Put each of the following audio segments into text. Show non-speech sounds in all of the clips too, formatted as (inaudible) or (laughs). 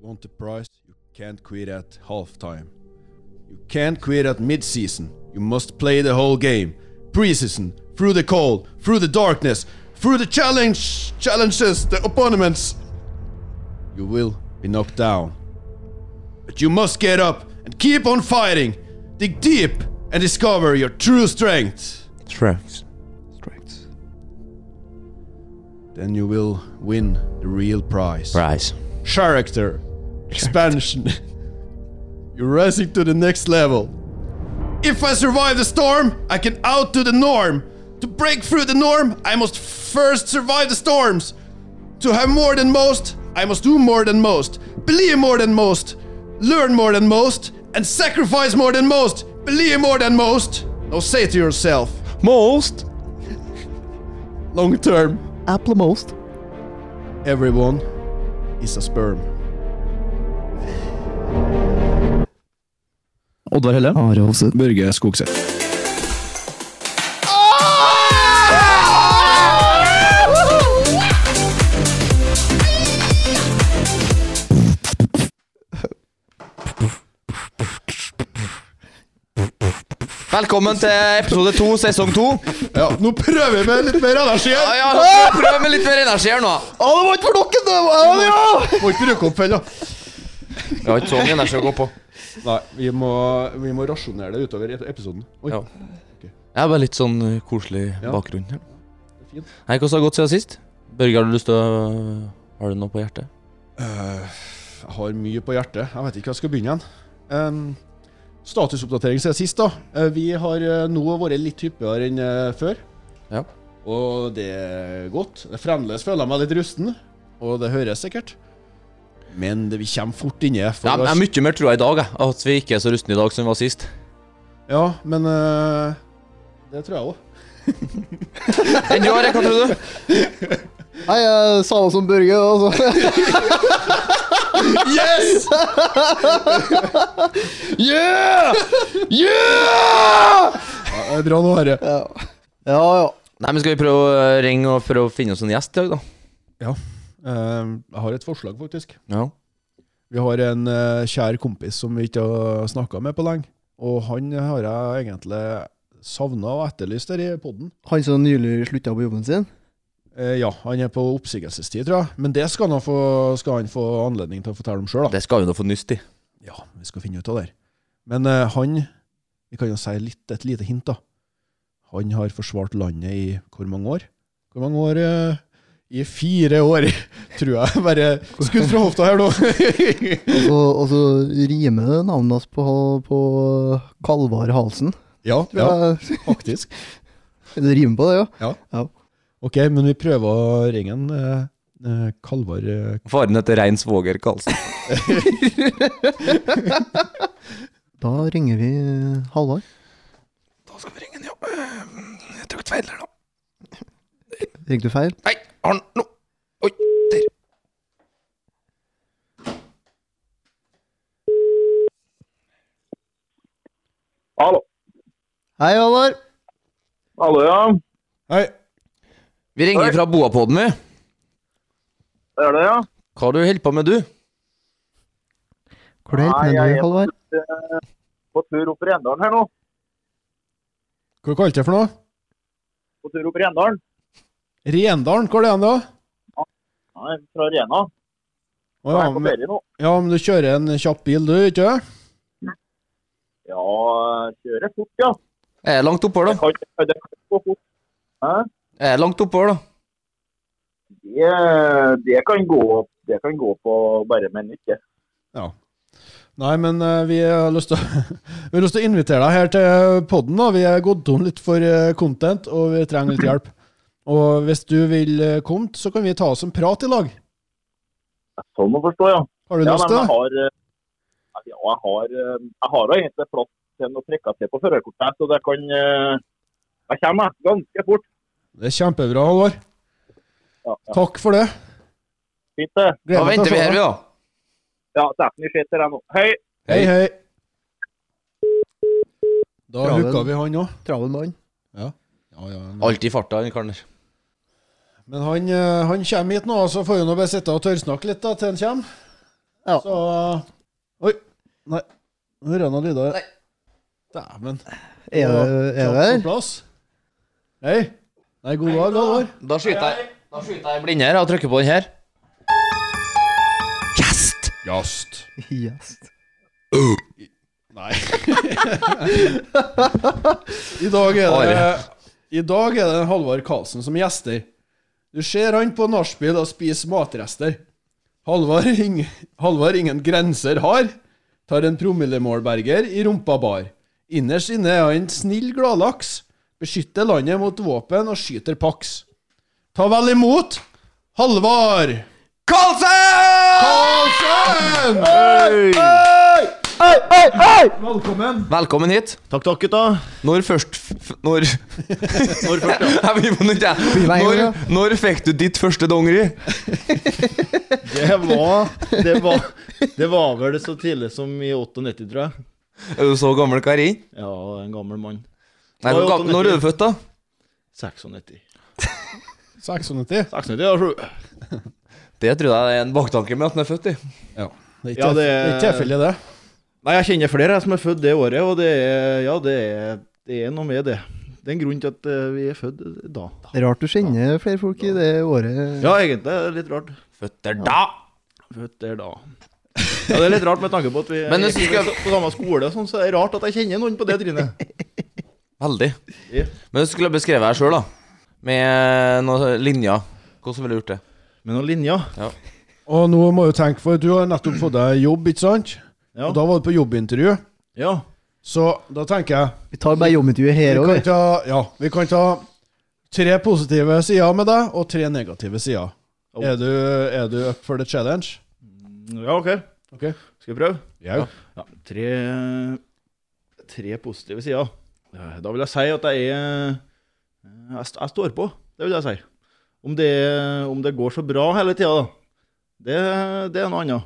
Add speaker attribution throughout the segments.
Speaker 1: want the prize, you can't quit at halftime. You can't quit at mid-season. You must play the whole game. Pre-season, through the cold, through the darkness, through the challenge, challenges, the opponents. You will be knocked down. But you must get up and keep on fighting. Dig deep and discover your true strength.
Speaker 2: Strengths. Strengths.
Speaker 1: Then you will win the real prize.
Speaker 2: Prize.
Speaker 1: Character. Expansion. (laughs) You're rising to the next level. If I survive the storm, I can outdo the norm. To break through the norm, I must first survive the storms. To have more than most, I must do more than most, believe more than most, learn more than most, and sacrifice more than most, believe more than most. Now say to yourself,
Speaker 2: Most.
Speaker 1: long term,
Speaker 2: Apple most.
Speaker 1: everyone is a sperm.
Speaker 3: Oddvar Helle.
Speaker 4: Are Hovseth.
Speaker 3: Børge Skogseth.
Speaker 2: Velkommen til episode to, sesong (laughs) to.
Speaker 1: Ja, nå prøver vi med litt mer energi
Speaker 2: Ja,
Speaker 1: her.
Speaker 2: ja, prøv med litt mer energi her nå.
Speaker 4: Å, det var ikke for dere, det var det, ja!
Speaker 1: Må ikke bruke opp fella.
Speaker 2: Vi har ikke så mye energi å gå på.
Speaker 1: Nei, vi må, vi må rasjonere det utover et- episoden. Oi,
Speaker 2: Ja. Jeg har bare litt sånn uh, koselig
Speaker 1: Ja.
Speaker 2: bakgrunn her.
Speaker 1: fint.
Speaker 2: Hei, hvordan har det gått siden sist? Børge, har du lyst til å Har du noe på hjertet?
Speaker 1: Øh, jeg har mye på hjertet. Jeg vet ikke hva jeg skal begynne igjen. Ehm, statusoppdatering siden sist, da. Eh, vi har eh, nå vært litt hyppigere enn eh, før.
Speaker 2: Ja.
Speaker 1: Og det er godt. Jeg fremdeles føler jeg meg litt rusten, og det høres sikkert. Men det, vi kommer fort inni. for
Speaker 2: Ja,
Speaker 1: det
Speaker 2: men
Speaker 1: har-
Speaker 2: jeg er mye mer trua i dag, jeg. At vi ikke er så rustne i dag som vi var sist.
Speaker 1: ja, men eh, det tror
Speaker 2: (laughs)
Speaker 1: jeg òg.
Speaker 2: Enn du har, jeg, hva tror du?
Speaker 4: Nei, jeg sa det som Børge, og så
Speaker 1: (laughs) Yes!
Speaker 4: Yeah!
Speaker 2: (laughs)
Speaker 4: Yeah!
Speaker 1: Ja, det er bra nå, Are.
Speaker 4: Ja, (laughs) ja. ja.
Speaker 2: Nei, men skal vi prøve å eh, ringe og prøve å finne oss en gjest i dag, da?
Speaker 1: Ehm, jeg har et forslag, faktisk.
Speaker 2: Ja.
Speaker 1: Vi har en eh, kjær kompis som vi ikke har snakka med på lenge. Og han har jeg egentlig savna og etterlyst her i poden.
Speaker 4: Han som nylig slutta på jobben sin?
Speaker 1: Eh, ja, han er på oppsigelsestid, tror jeg. Men det skal han, få, skal han få anledning til å fortelle om sjøl, da.
Speaker 2: Det skal vi da få nyst i.
Speaker 1: Ja, vi skal finne ut av det. her. Men eh, han Vi kan jo si litt, et lite hint, da. Han har forsvart landet i hvor mange år? Hvor mange år? eh, I fire år, (laughs) tror jeg. Bare skudd fra hofta her nå. (laughs)
Speaker 4: Og så, og så rimer det navnet hans på, på Kalvar Halsen.
Speaker 1: ja,
Speaker 4: tror
Speaker 1: ja,
Speaker 4: Jeg.
Speaker 1: faktisk.
Speaker 4: (laughs)
Speaker 1: (laughs)
Speaker 4: Det rimer på det, ja.
Speaker 1: Ok, men vi prøver å ringe en eh, eh, Kalvar eh,
Speaker 2: Faren heter Rein Svoger Karlsen.
Speaker 4: Da ringer vi Halvard.
Speaker 2: Da skal vi ringe en, ja. Jeg tok feil her, da.
Speaker 4: Ringte du feil?
Speaker 2: Nei, har han no. Oi, der.
Speaker 5: Hallo.
Speaker 4: Hei, Halvard.
Speaker 5: Hallo, ja.
Speaker 1: Hei.
Speaker 2: Vi ringer fra Boapodden, vi.
Speaker 5: Det er det, ja.
Speaker 2: Hva har du holdt på med, du?
Speaker 4: Hvor er
Speaker 5: Nei,
Speaker 4: det
Speaker 5: jeg
Speaker 4: du,
Speaker 5: er
Speaker 4: Halvard?
Speaker 5: På tur opp i Rendalen her nå.
Speaker 1: Hva kalte jeg for noe?
Speaker 5: På tur opp i Rendalen.
Speaker 1: Rendalen, hvor er det da?
Speaker 5: Nei, fra Rena.
Speaker 1: Å,
Speaker 5: Jeg
Speaker 1: ja,
Speaker 5: er på
Speaker 1: men,
Speaker 5: ferie nå.
Speaker 1: ja, men du kjører en kjapp bil, du, ikke sant?
Speaker 5: Ja, kjører fort, ja.
Speaker 2: Jeg er langt oppover,
Speaker 5: Det
Speaker 2: da.
Speaker 5: kan, det kan gå fort. Hæ?
Speaker 2: Jeg er langt oppover, da.
Speaker 5: Det, det, kan gå, det kan gå på bare minutt, det.
Speaker 1: Nei, men eh, vi har lyst til å- (laughs) vi har lyst til å invitere deg her til podden. da. Vi er gått tom litt for eh, content, og vi trenger litt hjelp. Og hvis du vil eh, komme, så kan vi ta oss en prat i lag.
Speaker 5: Sånn å forstå, ja.
Speaker 1: Har du
Speaker 5: Ja,
Speaker 1: lyst
Speaker 5: men
Speaker 1: til
Speaker 5: jeg
Speaker 1: det?
Speaker 5: har, eh, ja, jeg har, eh, jeg har jo egentlig plass til å trekke til på førerkortet, her, så det kan eh, Jeg kommer jeg, ganske fort.
Speaker 1: Det er kjempebra, Halvor.
Speaker 5: Ja, ja.
Speaker 1: Takk for det.
Speaker 5: Fint, det.
Speaker 2: Da
Speaker 1: meg
Speaker 2: venter vi her, vi,
Speaker 1: deg.
Speaker 2: da.
Speaker 5: Ja, Steffen i skitt her jeg nå. Hei!
Speaker 1: Hei, hei. Da
Speaker 4: Travel.
Speaker 1: hooka vi han òg.
Speaker 4: Travel mann.
Speaker 1: Ja, ja, men-
Speaker 2: Alltid i farta, den karen der.
Speaker 1: Men han, eh, han kommer hit nå, og så får vi nå bare sitte og tørrsnakke litt da, til han kommer.
Speaker 4: Ja.
Speaker 1: Så eh, Oi.
Speaker 4: Nei.
Speaker 1: Hører han noen lyder?
Speaker 4: Nei.
Speaker 1: Dæven.
Speaker 4: Er det er det
Speaker 1: På
Speaker 4: her?
Speaker 1: plass. Hei. Nei, god dag, Halvor.
Speaker 2: Da skyter jeg, da skyter jeg blind her og trykker på den her. Gjest!
Speaker 1: Jast.
Speaker 4: Yes.
Speaker 1: Nei. I dag er det I dag er det Halvard Karlsen som gjester. Du ser han på nachspiel og spiser matrester. Halvard ing, Halvard ingen grenser har. Tar en promillemålberger i rumpa bar. Innerst inne er han snill gladlaks. Beskytter landet mot våpen og skyter paks. Ta vel imot Halvard
Speaker 2: Karlsen!
Speaker 1: Karlsen! Velkommen.
Speaker 2: Velkommen hit.
Speaker 3: Takk, takk, gutta.
Speaker 2: Når først f Når
Speaker 3: (laughs) Når først,
Speaker 2: (laughs)
Speaker 3: ja.
Speaker 2: Jeg blir på nytt, jeg.
Speaker 4: meg en
Speaker 2: Når,
Speaker 4: gang,
Speaker 2: når fikk du ditt første dongeri?
Speaker 3: Det var, det var Det var vel så tidlig som i 98, tror jeg.
Speaker 2: Er du så gammel karin?
Speaker 3: Ja, en gammel mann.
Speaker 2: Nei,
Speaker 3: Oi,
Speaker 2: hvor gam- når er du født, da?
Speaker 3: 96.
Speaker 1: 96.
Speaker 3: 96, ja, sju.
Speaker 2: Det tror jeg er en baktanke med at den er født i.
Speaker 1: Det er ikke
Speaker 3: Ja, det
Speaker 1: det
Speaker 3: er-
Speaker 1: er ikke tilfeldig, det.
Speaker 3: Nei, jeg kjenner flere jeg, som er født det året, og det er, ja, det er, det er noe med det. Det er en grunn til at eh, vi er født da.
Speaker 4: Det er Rart du kjenner flere folk i det året.
Speaker 3: Ja, egentlig er det litt rart.
Speaker 2: Føtter da!
Speaker 3: Født der da. Ja, det er litt rart med tanke på at vi
Speaker 2: Men
Speaker 3: er
Speaker 2: hvis du skal-
Speaker 3: på samme skole, og sånn, så er det rart at jeg kjenner noen på det trinnet.
Speaker 2: Veldig.
Speaker 3: Ja.
Speaker 2: Men hvis du skulle beskrevet deg sjøl, da, med noen linjer, hvordan ville du gjort det?
Speaker 3: Med noen linjer.
Speaker 1: Og nå må du tenke, for du har nettopp fått deg jobb, ikke sant?
Speaker 3: Ja.
Speaker 1: Og da var du på jobbintervju.
Speaker 3: ja.
Speaker 1: Så da tenker jeg
Speaker 4: Vi tar bare jobbintervjuet her
Speaker 1: vi
Speaker 4: òg,
Speaker 1: kan, ta, ja, vi kan ta tre positive sider med deg, og tre negative sider.
Speaker 3: Oh.
Speaker 1: Er, du, er du up for the challenge?
Speaker 3: Ja, OK.
Speaker 1: Ok.
Speaker 3: Skal vi prøve?
Speaker 1: Ja.
Speaker 3: Ja, tre, tre positive sider. Eh, Da vil jeg si at jeg er eh, Jeg, st- jeg står på, det vil jeg si. Om det, om det går så bra hele tida, da, det, det er noe annet.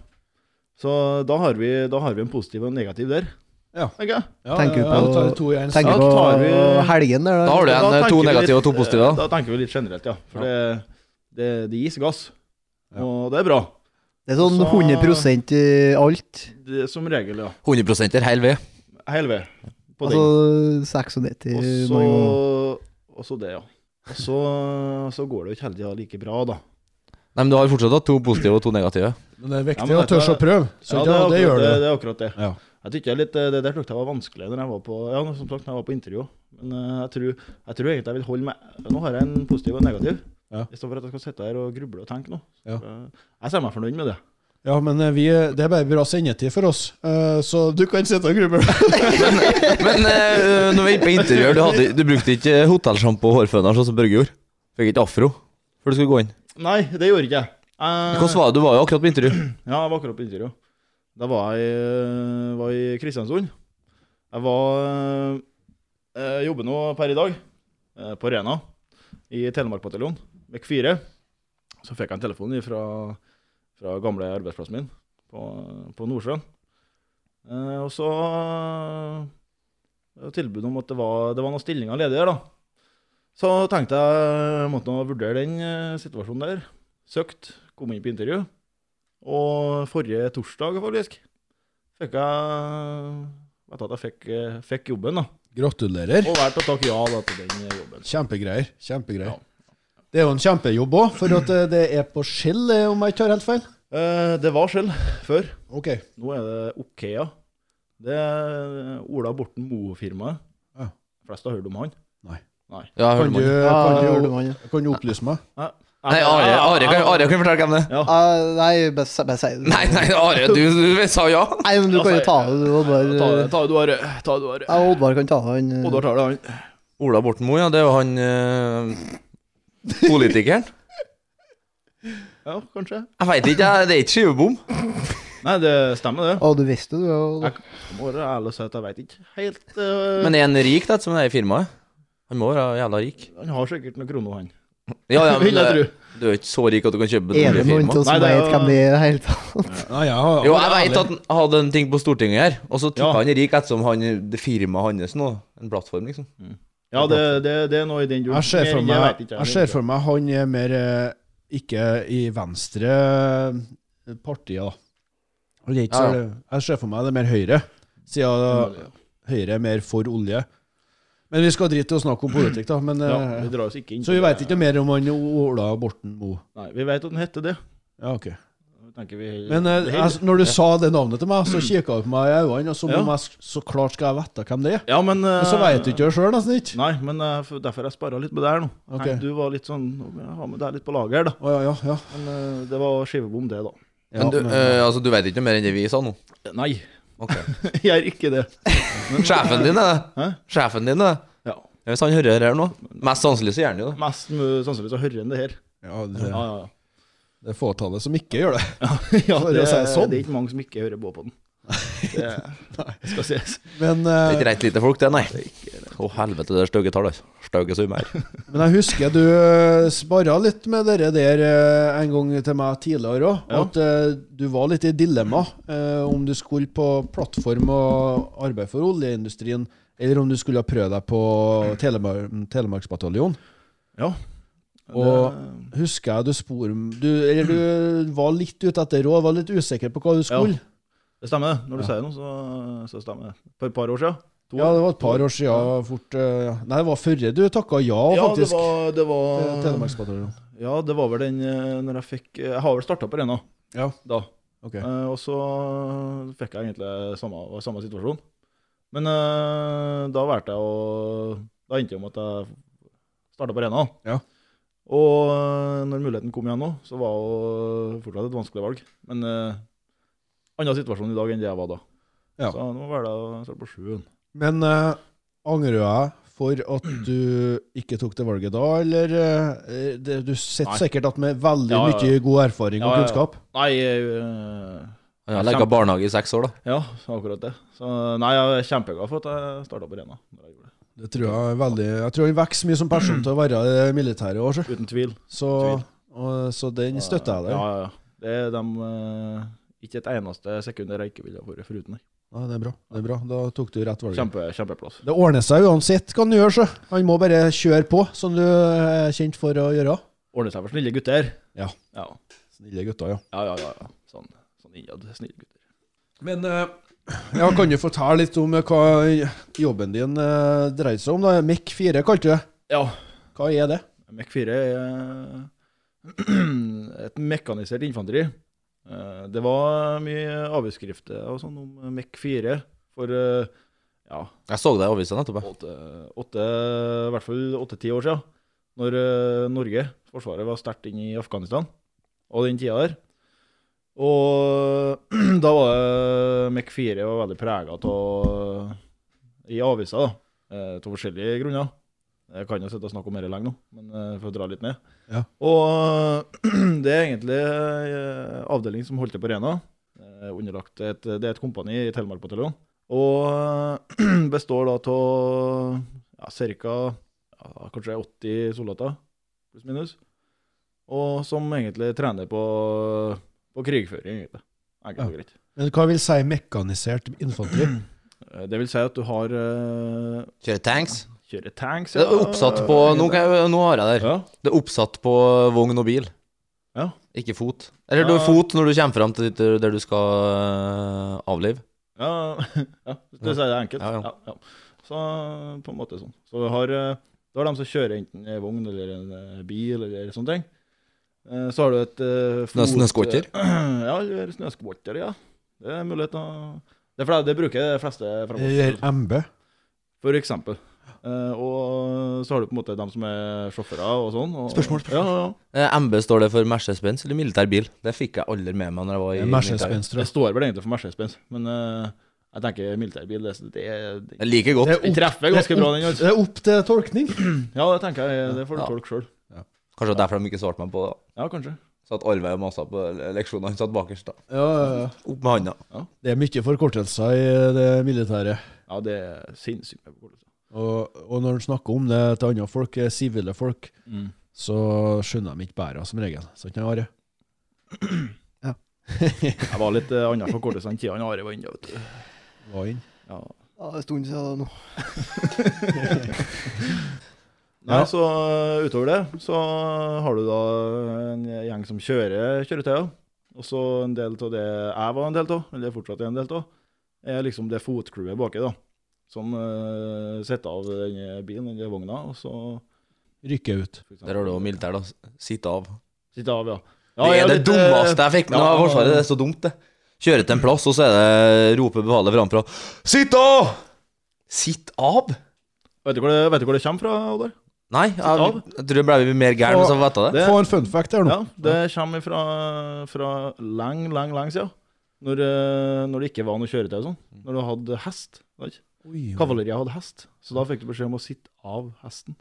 Speaker 3: Så da har, vi, da har vi en positiv og en negativ der.
Speaker 1: Ja.
Speaker 3: tenker jeg.
Speaker 1: ja
Speaker 4: Tenker
Speaker 1: ja,
Speaker 4: du
Speaker 1: ja,
Speaker 4: på-
Speaker 1: da tar vi to i en
Speaker 4: Tenker
Speaker 3: Ja,
Speaker 4: på
Speaker 3: tar vi-
Speaker 4: helgen der,
Speaker 2: Da
Speaker 4: da.
Speaker 2: har du
Speaker 3: Da
Speaker 2: en eh,
Speaker 3: tenker
Speaker 2: to
Speaker 3: vi litt-
Speaker 2: negative og to positive.
Speaker 3: eh,
Speaker 2: da.
Speaker 3: Da tenker vi litt generelt, ja. For Det, det, det gis gass.
Speaker 1: Ja.
Speaker 3: Og det er bra.
Speaker 4: Det er sånn
Speaker 3: Så-
Speaker 4: 100 i alt.
Speaker 3: Det, som regel, ja.
Speaker 2: 100 er hel ved.
Speaker 3: Hele veien. På den.
Speaker 4: Altså 96
Speaker 1: Eh,
Speaker 3: Og
Speaker 4: noen ganger.
Speaker 3: så, og så det, ja. Og så, (laughs) så går det jo ikke hele tida like bra, da.
Speaker 2: Nei, men du har fortsatt hatt to positive og to negative.
Speaker 1: Men det er
Speaker 3: Ja,
Speaker 1: viktig
Speaker 3: men
Speaker 1: å tørre å
Speaker 3: dette-
Speaker 1: prøve. Så
Speaker 3: Ja,
Speaker 1: det, det,
Speaker 3: akkurat
Speaker 1: gjør
Speaker 3: det,
Speaker 1: du.
Speaker 3: det er akkurat det.
Speaker 1: Ja.
Speaker 3: Jeg tykker jeg litt, det der syntes jeg var vanskelig når jeg var på Ja, som sagt, når jeg var på intervju. Men eh, jeg tror, jeg tror egentlig jeg vil holde meg Nå har jeg en positiv og en negativ.
Speaker 1: Ja.
Speaker 3: I stedet for at jeg skal sitte her og gruble og tenke nå.
Speaker 1: Ja.
Speaker 3: Eh, Jeg ser meg fornøyd med det.
Speaker 1: Ja, men eh, vi, det er bare bra sendetid for oss, eh, så du kan sitte og gruble.
Speaker 2: (laughs) Men eh, når vi gikk på interiør, du, hadde, du brukte ikke hotellsjampo og hårføner, sånn som Børge gjorde. Fikk ikke afro før du skulle gå inn.
Speaker 3: Nei, det gjorde ikke jeg. Eh,
Speaker 2: Hvordan var det? Du var jo akkurat på intervju.
Speaker 3: Ja, jeg var akkurat på intervju. Da var jeg, eh, var jeg i Kristiansund. Jeg var eh, jobber nå per i dag eh, på Rena i Telemarkbataljonen, vekk 4. Så fikk jeg en telefon fra, fra gamle arbeidsplassen min på, på Nordsjøen. Eh, og så eh, tilbud om at det var, det var noen stillinger ledige der, da. Så tenkte jeg måtte nå vurdere den eh, situasjonen der. Søkt, kom inn på intervju. Og forrige torsdag, faktisk, fikk jeg Vet at jeg fikk, eh, fikk jobben, da.
Speaker 1: Gratulerer.
Speaker 3: Og valgte å takke ja da, til den jobben.
Speaker 1: Kjempegreier. Kjempegreier.
Speaker 3: Ja.
Speaker 1: Det er jo en kjempejobb òg, for at eh, det er på skjell, eh, om jeg ikke tar helt feil.
Speaker 3: Eh, det var Skjell før.
Speaker 1: Ok.
Speaker 3: Nå er det Okea. Det er eh, Ola Borten Moe-firmaet.
Speaker 1: Ja.
Speaker 3: Flest har hørt om han.
Speaker 2: Ja, jeg
Speaker 1: Kan
Speaker 2: hørte
Speaker 1: du,
Speaker 2: meg.
Speaker 4: Ja,
Speaker 1: kan
Speaker 4: det
Speaker 1: du,
Speaker 4: gjorde man, ja.
Speaker 1: kan du opplyse meg?
Speaker 2: Nei, Are, Are, kan, Are kan fortelle hvem det er.
Speaker 4: Ah, Nei, bare si- bare si det.
Speaker 2: Nei, nei, Are, du, du sa ja.
Speaker 4: Nei, men du kan jo ta det, du, Oddvar.
Speaker 3: Ta
Speaker 1: Eh,
Speaker 3: det, ta det du har.
Speaker 2: eh.
Speaker 3: Ta det du har.
Speaker 4: Ja, Oddvar kan ta det, han. eh.
Speaker 3: Oddvar tar det, han.
Speaker 2: Ola Borten Moe, ja. Det er jo han eh, politikeren.
Speaker 3: Ja, kanskje.
Speaker 2: Jeg veit ikke, jeg. Det er ikke skivebom.
Speaker 3: Nei, det stemmer, det.
Speaker 4: Å, du visste det, du. ja, Oddvar.
Speaker 3: Jeg må være ærlig og si at jeg veit ikke helt eh,
Speaker 2: Men er han rik, da, som er i firmaet? Han må være jævla rik.
Speaker 3: Han har sikkert noen kroner, han.
Speaker 2: Ja, ja, men
Speaker 3: (laughs) Vil jeg
Speaker 2: eh,
Speaker 3: tro.
Speaker 2: du er jo ikke så rik at du kan kjøpe et
Speaker 4: Er det noen
Speaker 2: oljefirma.
Speaker 4: av oss som
Speaker 3: Nei, det er
Speaker 4: vet
Speaker 3: jo-
Speaker 4: hvem det er i det hele tatt?
Speaker 1: Nei, jeg har
Speaker 2: Jo, jeg veit at han hadde en ting på Stortinget her, og så tok
Speaker 3: Ja.
Speaker 2: han rik ettersom han det firmaet hans nå En plattform, liksom.
Speaker 3: Ja, det, det, det er noe i den duren.
Speaker 1: Jeg ser for
Speaker 3: Jeg- jeg
Speaker 1: meg,
Speaker 3: vet ikke,
Speaker 1: jeg ser for meg han er mer eh, ikke i venstre partiet, eh, da. Og det er ikke så, Jeg ser for meg det er mer høyre, siden høyre er mer for olje. Men vi skal drite i å snakke om politikk, da. Men,
Speaker 3: Ja,
Speaker 1: eh,
Speaker 3: vi drar oss ikke inn
Speaker 1: så vi veit ikke mer om han Ola Borten Moe.
Speaker 3: Nei, vi vet at den heter det.
Speaker 1: Ja, ok.
Speaker 3: Jeg tenker vi
Speaker 1: Men eh,
Speaker 3: Hell-
Speaker 1: jeg, når du sa det navnet til meg, så kikka du på meg i øynene, og som
Speaker 3: Ja.
Speaker 1: om jeg s- så klart skal jeg vite hvem det er.
Speaker 3: Ja, men
Speaker 1: Men så veit du ikke det sjøl, nesten ikke.
Speaker 3: Nei, men eh, for- derfor jeg sparra litt på det her nå.
Speaker 1: Ok.
Speaker 3: Nei, Du var litt sånn nå må Jeg har med deg litt på lager, da.
Speaker 1: Å ja, ja, ja.
Speaker 3: Men eh, det var skivebom, det, da.
Speaker 1: ja
Speaker 2: Men du,
Speaker 1: men-
Speaker 2: eh, altså, du vet ikke noe mer enn det vi sa nå?
Speaker 3: Nei, (laughs)
Speaker 2: Ok.
Speaker 3: jeg gjør ikke det.
Speaker 2: Sjefen din er det.
Speaker 3: Hæ?
Speaker 2: Sjefen din er det.
Speaker 3: Ja.
Speaker 2: Ja, Hvis han hører her nå Mest sannsynlig så gjør han jo det.
Speaker 3: Mest mu- sannsynlig så hører han det her.
Speaker 1: ja,
Speaker 3: Ja,
Speaker 1: det,
Speaker 3: ja, (laughs) ja.
Speaker 1: det er fåtallet som ikke gjør det.
Speaker 3: ja
Speaker 1: For å
Speaker 3: det,
Speaker 1: si det sånn.
Speaker 3: det er ikke mange som ikke hører på
Speaker 1: (laughs)
Speaker 3: på den. Det skal sies.
Speaker 1: Men,
Speaker 2: Det
Speaker 1: eh,
Speaker 2: er ikke rett lite folk, det, nei. Å, helvete, det er stygge tall, altså. Stygge summer.
Speaker 1: men jeg husker du eh, sparra litt med dere der eh, en gang til meg tidligere òg.
Speaker 3: Ja.
Speaker 1: At eh, du var litt i dilemma eh, om du skulle på plattform og arbeid for oljeindustrien, eller om du skulle prøve deg på Telemar Telemarksbataljonen.
Speaker 3: Ja.
Speaker 1: Og-
Speaker 3: Det-
Speaker 1: Husker jeg du spor du, Eller du var litt ute etter råd, var litt usikker på hva du skulle.
Speaker 3: Det stemmer, det. Når du sier noe, så, så stemmer det. For et par år siden. To
Speaker 1: Ja,
Speaker 3: år.
Speaker 1: det var et par år siden. Fort, eh, nei, det var før du takka ja,
Speaker 3: ja, det
Speaker 1: faktisk.
Speaker 3: var, det
Speaker 1: til
Speaker 3: var
Speaker 1: Telemarksbataljonen.
Speaker 3: Ja, det var vel den eh, når jeg fikk Jeg har vel starta på den, da.
Speaker 1: Ja.
Speaker 3: da.
Speaker 1: Ok.
Speaker 3: Eh, og så fikk jeg egentlig samme, var i samme situasjon. Men eh, da valgte jeg å Da endte det om at jeg starta på Rena.
Speaker 1: Ja.
Speaker 3: Og eh, når muligheten kom igjen nå, så var det fortsatt et vanskelig valg. Men uh, annen situasjon i dag enn det jeg var da.
Speaker 1: Ja.
Speaker 3: Så nå var det å starte på sjuen.
Speaker 1: Men eh, angrer jeg for
Speaker 3: (clears throat)
Speaker 1: at du ikke tok det valget da, eller eh, det, Du sitter
Speaker 3: Nei.
Speaker 1: sikkert at med veldig
Speaker 3: Ja, ja, ja.
Speaker 1: mye god erfaring
Speaker 3: Ja,
Speaker 1: og
Speaker 3: ja, ja.
Speaker 1: kunnskap.
Speaker 3: Nei, eh,
Speaker 2: Han har legget barnehage i seks år, da.
Speaker 3: ja, akkurat det. Så nei, jeg er kjempeglad for at jeg starta på Rena. når jeg gjorde det.
Speaker 1: Det tror jeg er veldig Jeg tror han vokser mye som person til å være i det militære òg, sjø.
Speaker 3: Uten tvil.
Speaker 1: så, og- så den støtter jeg deg.
Speaker 3: Ja, ja, ja. Det er dem eh, Ikke et eneste sekund der jeg ikke ville ha vært foruten. jeg.
Speaker 1: Ja, det er bra. det er bra Da tok du rett valg.
Speaker 3: Kjempe, kjempeplass.
Speaker 1: Det ordner seg uansett hva han gjør, så. Han må bare kjøre på, som du er kjent for å gjøre.
Speaker 3: Ordner seg for snille gutter.
Speaker 1: Ja.
Speaker 3: Ja,
Speaker 1: Snille gutter, ja.
Speaker 3: ja, ja. ja, ja. Sånn, sånn innad. Snille gutter.
Speaker 1: Men eh, ja, kan du fortelle litt om eh, hva jobben din eh, dreide seg om? da? MEC4 kalte du det.
Speaker 3: Ja.
Speaker 1: Hva er det?
Speaker 3: Mek 4 er eh, (clears throat) et mekanisert infanteri. Eh, Det var mye avskrifter og sånn om Mek 4 for eh, ja,
Speaker 2: Jeg så deg i avisa nettopp. jeg.
Speaker 3: åtte, åtte, i hvert fall åtte-ti år siden, når eh, Norge, Forsvaret, var sterkt inne i Afghanistan, og den tida der. Og (clears throat) da var det MEC 4 var veldig prega av I avisa, da. eh, Av forskjellige grunner. Jeg kan jo sitte og snakke om dette lenge nå, men eh, for å dra litt ned.
Speaker 1: Ja.
Speaker 3: Og (clears throat) det er egentlig eh, avdeling som holdt til på Rena. eh, Underlagt et, det er et kompani i Telemarkbataljonen. Og (clears throat) består da av ja, ca. Ja, kanskje 80 soldater, pluss minus. Og som egentlig trener på, på krigføring, egentlig. Enkelt og greit.
Speaker 1: Men hva vil si mekanisert infanteri?
Speaker 3: (clears throat) Eh, Det vil si at du har eh,
Speaker 2: Kjører tanks.
Speaker 3: kjører tanks
Speaker 2: Det er oppsatt på Nå, kan jeg, nå har jeg det. her.
Speaker 3: Ja.
Speaker 2: Det er oppsatt på vogn og bil.
Speaker 3: Ja.
Speaker 2: Ikke fot. Eller du har
Speaker 3: Ja.
Speaker 2: fot når du kommer fram til dit der du skal øh, avlive.
Speaker 3: Ja, (laughs) ja hvis du sier det enkelt.
Speaker 2: Ja,
Speaker 3: Ja,
Speaker 2: ja.
Speaker 3: ja. Så på en måte sånn. Så du har, eh, du har dem som kjører enten en vogn eller en eh, bil eller sånne ting. Eh, Så har du et eh,
Speaker 2: Snø- snøskotter?
Speaker 3: (clears throat) Ja, eller snøskotter, ja. Det er mulighet å Det, er fordi det bruker de fleste
Speaker 1: Eller
Speaker 3: fremover,
Speaker 1: MB?
Speaker 3: for eksempel. Eh, Og så har du på en måte dem som er sjåfører og sånn. Og,
Speaker 2: Spørsmål, spørsmål.
Speaker 3: Ja, ja, ja.
Speaker 2: Eh, MB står det for Mercedes-Benz eller militær bil. Det fikk jeg aldri med meg når jeg var i militæret.
Speaker 1: Mercedes-Benz, tror
Speaker 3: Det
Speaker 1: jeg.
Speaker 3: står vel egentlig for Mercedes-Benz, men eh, jeg tenker militærbil det, det, det,
Speaker 2: Jeg liker godt.
Speaker 1: Det er
Speaker 3: Den treffer ganske bra, den. altså.
Speaker 1: Det er opp til tolkning.
Speaker 3: Ja, det tenker jeg. Det får du
Speaker 2: Ja.
Speaker 3: tolke sjøl.
Speaker 2: Kanskje derfor de ikke svarte meg på det.
Speaker 3: Ja, kanskje.
Speaker 2: Satt Arve og masa på leksjonen. Han satt bakerst, da.
Speaker 1: Ja, ja, ja.
Speaker 2: Opp med handa.
Speaker 1: Det er mye forkortelser i eh, det militære.
Speaker 3: Ja, det er sinnssykt mye forkortelser.
Speaker 1: Og, og når en snakker om det til andre folk, eh, sivile folk,
Speaker 3: Mm.
Speaker 1: så skjønner de ikke bæra som regel. Sant, Jan Are?
Speaker 3: Jeg var litt uh, annen forkortelse enn tida han Are var inne, vet du.
Speaker 1: Hva inn?
Speaker 3: Ja.
Speaker 4: Ja, det er en stund siden nå.
Speaker 3: Nei,
Speaker 1: Ja.
Speaker 3: så eh, utover det, så har du da en gjeng som kjører kjøretøyer. Og så en del av det jeg var en del av, eller fortsatt er en del av, er liksom det fotcrewet baki, da. Som uh, setter av den bilen, den vogna, og så
Speaker 1: Rykke ut.
Speaker 3: for eksempel-
Speaker 2: Der har du jo militær, da. Sitt av.
Speaker 3: Sitte av, ja. ja
Speaker 2: Det
Speaker 3: jeg
Speaker 2: er det
Speaker 3: litt, eh,
Speaker 2: dummeste jeg fikk med
Speaker 3: ja,
Speaker 2: av Forsvaret. Det er så dumt, det. Kjøre til en plass, og så er det roper befalet framfra. Sitt av! Sitt av?
Speaker 3: Vet du hvor det, vet du hvor det kommer fra, Oddar?
Speaker 2: Nei, jeg,
Speaker 3: av?
Speaker 2: jeg tror jeg ble mer gæren hvis jeg visste det.
Speaker 3: Det-
Speaker 6: Få en fun fact her nå.
Speaker 3: Ja, det kommer fra, fra lang, lang, lang siden. Når, eh, når det ikke var noe kjøretøy og sånn. Når du hadde hest. Vet. du. Kavaleriet hadde hest, så da fikk du beskjed om å sitte av hesten.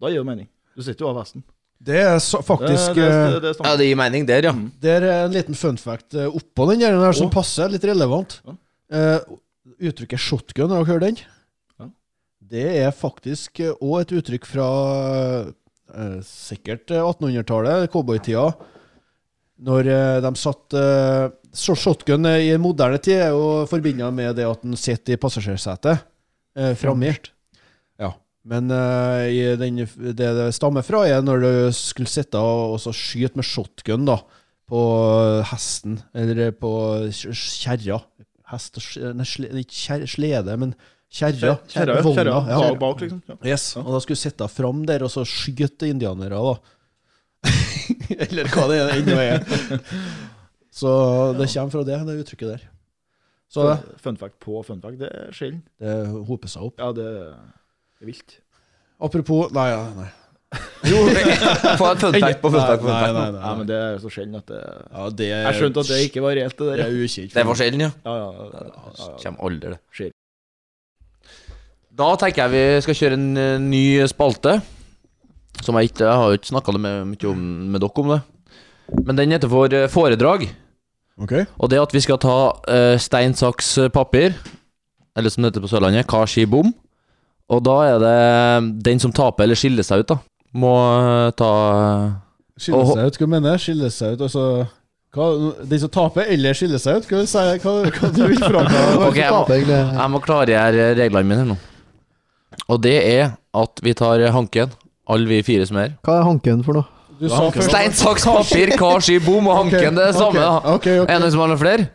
Speaker 3: Da gir det mening. Du sitter jo av hesten.
Speaker 6: Det er så,
Speaker 3: Det, det,
Speaker 6: faktisk
Speaker 3: det,
Speaker 6: eh,
Speaker 3: det
Speaker 2: Ja,
Speaker 3: stemmer.
Speaker 2: det gir mening der, ja.
Speaker 1: Det er en liten fun fact eh, oppå den der, den her som
Speaker 3: Å.
Speaker 1: passer, litt relevant.
Speaker 3: Ja.
Speaker 1: Eh, uttrykket shotgun, har dere hørt den?
Speaker 3: Ja.
Speaker 1: Det er faktisk òg et uttrykk fra eh, sikkert eh, 1800-tallet, cowboytida. Når eh, de satt eh, så Shotgun eh, i moderne tid er jo forbinda med det at den sitter i passasjersetet eh, framme. Ja. Men eh, i den, det det stammer fra, er når du skulle sitte og, og så skyte med shotgun da, på eh, hesten, eller eh, på kj- kjerra. Hest og sl- Nei, sle, ikke kjer- slede, men kjerra.
Speaker 3: Kjerra, ja.
Speaker 1: Vogna,
Speaker 3: Kjerra.
Speaker 1: ja.
Speaker 3: Bak- Bak, liksom. Ja.
Speaker 1: Yes, og da skulle du sitte fram der og så skyte indianere, da. (laughs) Eller hva det er ennå er. Så det kommer fra det, det uttrykket der. Så det,
Speaker 3: Fun fact på fun fact, det er sjelden.
Speaker 1: det hoper seg opp.
Speaker 3: Ja, det er vilt.
Speaker 1: Apropos Nei, ja, nei.
Speaker 2: (laughs) Jo, Få et fun fact på fun fact.
Speaker 1: Nei,
Speaker 2: på fun
Speaker 1: nei,
Speaker 2: fact.
Speaker 1: nei,
Speaker 3: Nei, men det er så sjelden at det
Speaker 1: Ja, det er,
Speaker 3: Jeg skjønte at det ikke var reelt, det
Speaker 1: det
Speaker 3: der.
Speaker 1: er ukjent.
Speaker 2: Det er forskjellen, ja.
Speaker 3: Ja, ja, ja, ja, ja.
Speaker 2: Kjem aldri det.
Speaker 3: Skjer.
Speaker 2: Da tenker jeg vi skal kjøre en eh, ny spalte. Som jeg ikke Jeg har jo ikke snakka med, mye om, med dere om det. Men den heter for eh, foredrag.
Speaker 1: Ok.
Speaker 2: Og det at vi skal ta eh, stein, saks, papir, eller som det heter på Sørlandet, hva ski, bom. Og da er det den som taper eller skiller seg ut, da, må eh, ta
Speaker 1: Skille seg ut, hva mener jeg? Skille seg ut, altså hva, Den som taper eller skiller seg ut? Hva, vil si- hva, hva du vil fram til?
Speaker 2: Ok, jeg må,
Speaker 4: Det er egentlig-
Speaker 2: jeg må klargjøre reglene mine her nå. Og det er at vi tar hanken, alle vi fire som er her.
Speaker 4: Hva er hanken for noe?
Speaker 1: Du sa først
Speaker 2: Stein, saks, papir, hva ski, bom og hanken. Det er det samme, da.
Speaker 1: Ok, ok.
Speaker 2: Er det noen som har noen flere?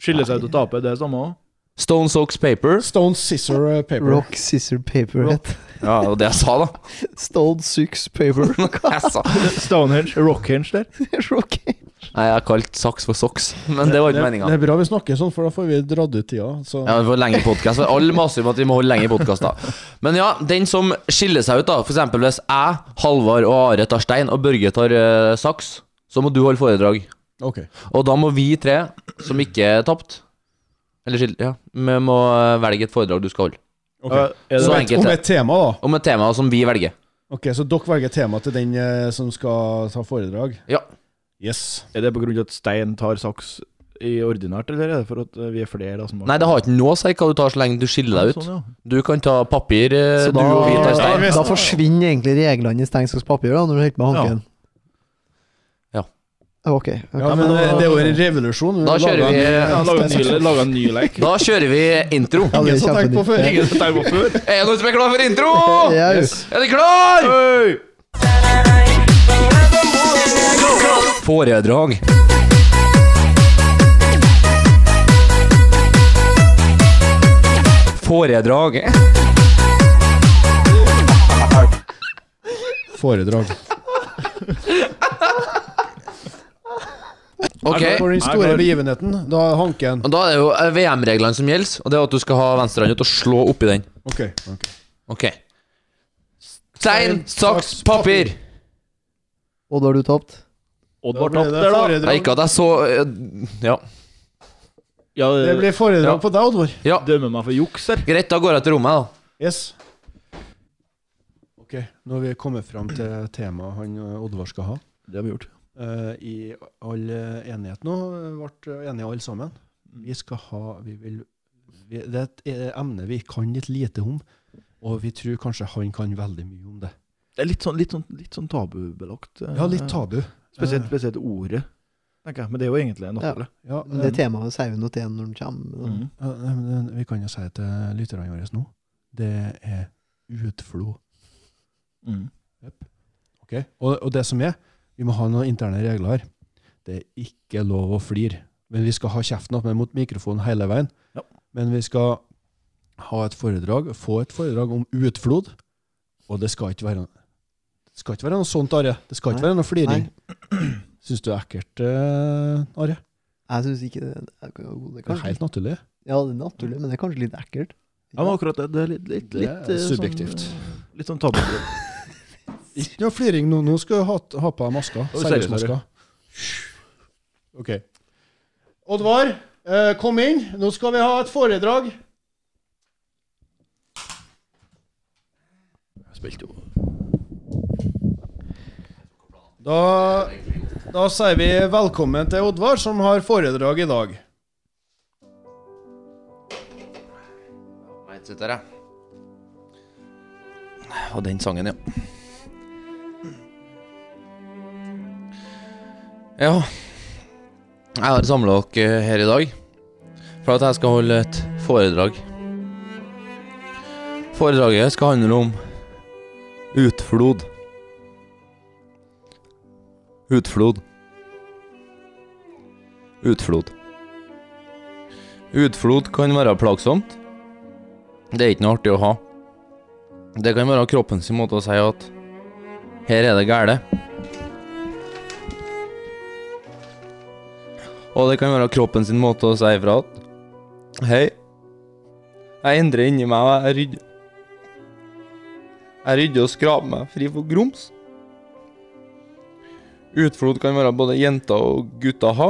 Speaker 3: Skille seg ut og tape, det er samme òg.
Speaker 2: Stone, socks, paper.
Speaker 1: Stone, scissor, eh, paper.
Speaker 4: Rock, scissor, paper.
Speaker 1: Rock.
Speaker 4: het.
Speaker 2: Ja, det var det jeg sa, da.
Speaker 4: Stone, six, (laughs) paper.
Speaker 2: Jeg sa.
Speaker 3: Stonehenge, Rockhenge der.
Speaker 4: Rock.
Speaker 2: Nei, jeg har kalt saks for soks, men det var ikke meninga.
Speaker 1: Det er bra vi snakker sånn, for da får vi dratt ut tida. Så.
Speaker 2: Ja, vi får lengre podcast For alle maser om at vi må holde lengre podcast da Men ja, den som skiller seg ut da For eksempel hvis jeg, Halvar og Are tar stein Og Børge tar eh, saks Så må du holde foredrag
Speaker 1: Ok.
Speaker 2: Og da må vi tre, som ikke er tapt Eller skil- ja Vi må eh, velge et foredrag du skal holde
Speaker 1: Ok.
Speaker 3: Ja, er
Speaker 2: Så
Speaker 1: Om
Speaker 3: det,
Speaker 1: et,
Speaker 2: enkelt,
Speaker 1: om
Speaker 2: ja.
Speaker 1: et tema, da.
Speaker 2: Om et tema som vi velger
Speaker 1: Ok, Så dere velger tema til den eh, som skal ta foredrag?
Speaker 2: Ja.
Speaker 1: Yes.
Speaker 3: er det på grunn av at Stein tar saks i ordinært, eller er det for at eh, vi er flere da som
Speaker 2: Nei, det har ikke noe å si hva du tar så lenge du skiller deg ut
Speaker 3: Sånn, ja.
Speaker 2: Du kan ta papir, eh,
Speaker 4: Så
Speaker 2: du og vi tar
Speaker 4: da,
Speaker 2: stein
Speaker 4: da forsvinner egentlig reglene i stengsakspapir da, når du holder på med hanken.
Speaker 2: Ja.
Speaker 4: Ok.
Speaker 1: Ja, men eh, det er jo en revolusjon.
Speaker 2: Da kjører vi eh,
Speaker 3: Ja, laga en ny, laget en ny lek.
Speaker 2: (laughs) Da kjører vi intro
Speaker 4: Ja, det er
Speaker 1: som tenkte på
Speaker 4: kjempenytt.
Speaker 1: før.
Speaker 3: Ingen som tenker på før.
Speaker 2: Er noen som er klar for intro?
Speaker 4: Ja, jo.
Speaker 2: Er de klar? Foredrag. Foredrag.
Speaker 1: (laughs) Foredrag.
Speaker 2: Ok,
Speaker 1: For den store begivenheten, da hanken.
Speaker 2: og da er det jo eh, VM-reglene som gjelder, og det er at du skal ha venstrehånda til å slå oppi den.
Speaker 1: Ok.
Speaker 2: Ok. Stein, saks, papir.
Speaker 4: Og da har du tapt?
Speaker 3: Odd
Speaker 1: Da
Speaker 3: var tapt
Speaker 1: blir det
Speaker 3: der, da.
Speaker 2: Nei,
Speaker 1: foredrag.
Speaker 2: ikke at jeg så eh, Ja.
Speaker 3: Ja,
Speaker 1: Det blir foredrag
Speaker 2: Ja.
Speaker 1: på deg, Oddvar.
Speaker 2: ja.
Speaker 3: Dømmer meg for juks her.
Speaker 2: Greit, da går jeg til rommet, da.
Speaker 1: Yes. Ok, nå har vi kommet fram til temaet han eh, Oddvar skal ha.
Speaker 3: Det har vi gjort.
Speaker 1: Eh, I all eh, enighet nå, eh, ble enige alle sammen.
Speaker 3: Mm.
Speaker 1: Vi skal ha vi vil, vi, Det er et eh, emne vi kan litt lite om, og vi tror kanskje han kan veldig mye om det.
Speaker 3: Det er litt sånn, litt sånn, litt sånn tabubelagt. eh,
Speaker 1: Ja, litt tabu. Eh,
Speaker 3: Spesielt, spesielt ordet, tenker jeg. Men det er jo egentlig en
Speaker 4: Ja.
Speaker 3: oppgave.
Speaker 1: Ja, eh,
Speaker 4: Det temaet sier vi noe til når den kommer.
Speaker 3: Mm.
Speaker 1: ja, nei, men, eh, vi kan jo si til lytterne våre nå det er utflod.
Speaker 3: Mm.
Speaker 1: Ok, og, og det som er, vi må ha noen interne regler her. Det er ikke lov å flire. Men vi skal ha kjeften opp mot mikrofonen hele veien.
Speaker 3: Ja.
Speaker 1: Men vi skal ha et foredrag, få et foredrag om utflod. Og det skal ikke være Det skal ikke være noe sånt, Are. Det skal ikke
Speaker 4: Nei.
Speaker 1: være noe fliring.
Speaker 4: Nei,
Speaker 1: Syns du det er ekkelt, eh, Are?
Speaker 4: jeg syns ikke det. Det er, jo, det er
Speaker 1: Det er
Speaker 4: kanskje,
Speaker 1: helt naturlig.
Speaker 4: ja, det er naturlig, men det er kanskje litt ekkelt.
Speaker 3: Ja, men akkurat det. Det er litt, litt,
Speaker 1: Det
Speaker 3: litt
Speaker 1: er
Speaker 3: eh, sånn,
Speaker 1: subjektivt.
Speaker 3: eh, litt sånn tabu.
Speaker 1: Ikke noe fliring nå. Nå skal du ha, ha på deg maska.
Speaker 2: Oi, seriøst,
Speaker 1: Seriøsmaska. OK. Oddvar, eh, kom inn. Nå skal vi ha et foredrag.
Speaker 2: Spilte jo
Speaker 1: Da, da sier vi velkommen til Oddvar, som har foredrag i dag.
Speaker 2: Nei, sitt der, jeg. Og den sangen, ja. Ja. Jeg har samla dere eh, her i dag for at jeg skal holde et foredrag. Foredraget skal handle om utflod. Utflod. Utflod. Utflod kan være plagsomt. Det er ikke noe artig å ha. Det kan være kroppen sin måte å si at her er det gæle. Og det kan være kroppen sin måte å si ifra at Hei, jeg endrer inni meg, og jeg rydder. Jeg rydder og skraper meg fri for grums. Utflod kan være både jenter og gutter ha.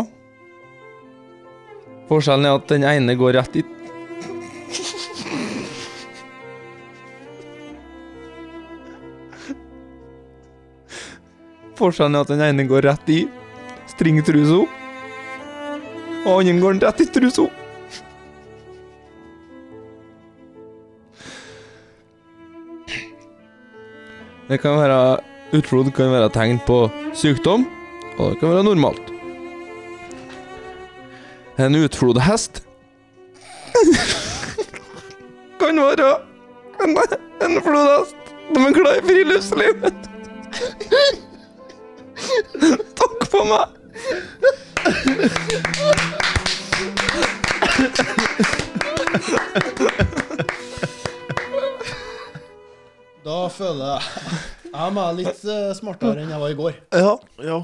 Speaker 2: Forskjellen er at den ene går rett i Forskjellen er at den ene går rett i stringtrusa, og andre går rett i trusa. Det kan være Utflod kan være tegn på sykdom, og det kan være normalt. En utflod hest kan være en, en flodhest som er glad i friluftslivet. Takk for meg.
Speaker 1: Da føler jeg jeg meg litt eh, smartere enn jeg var i går.
Speaker 2: Ja, ja.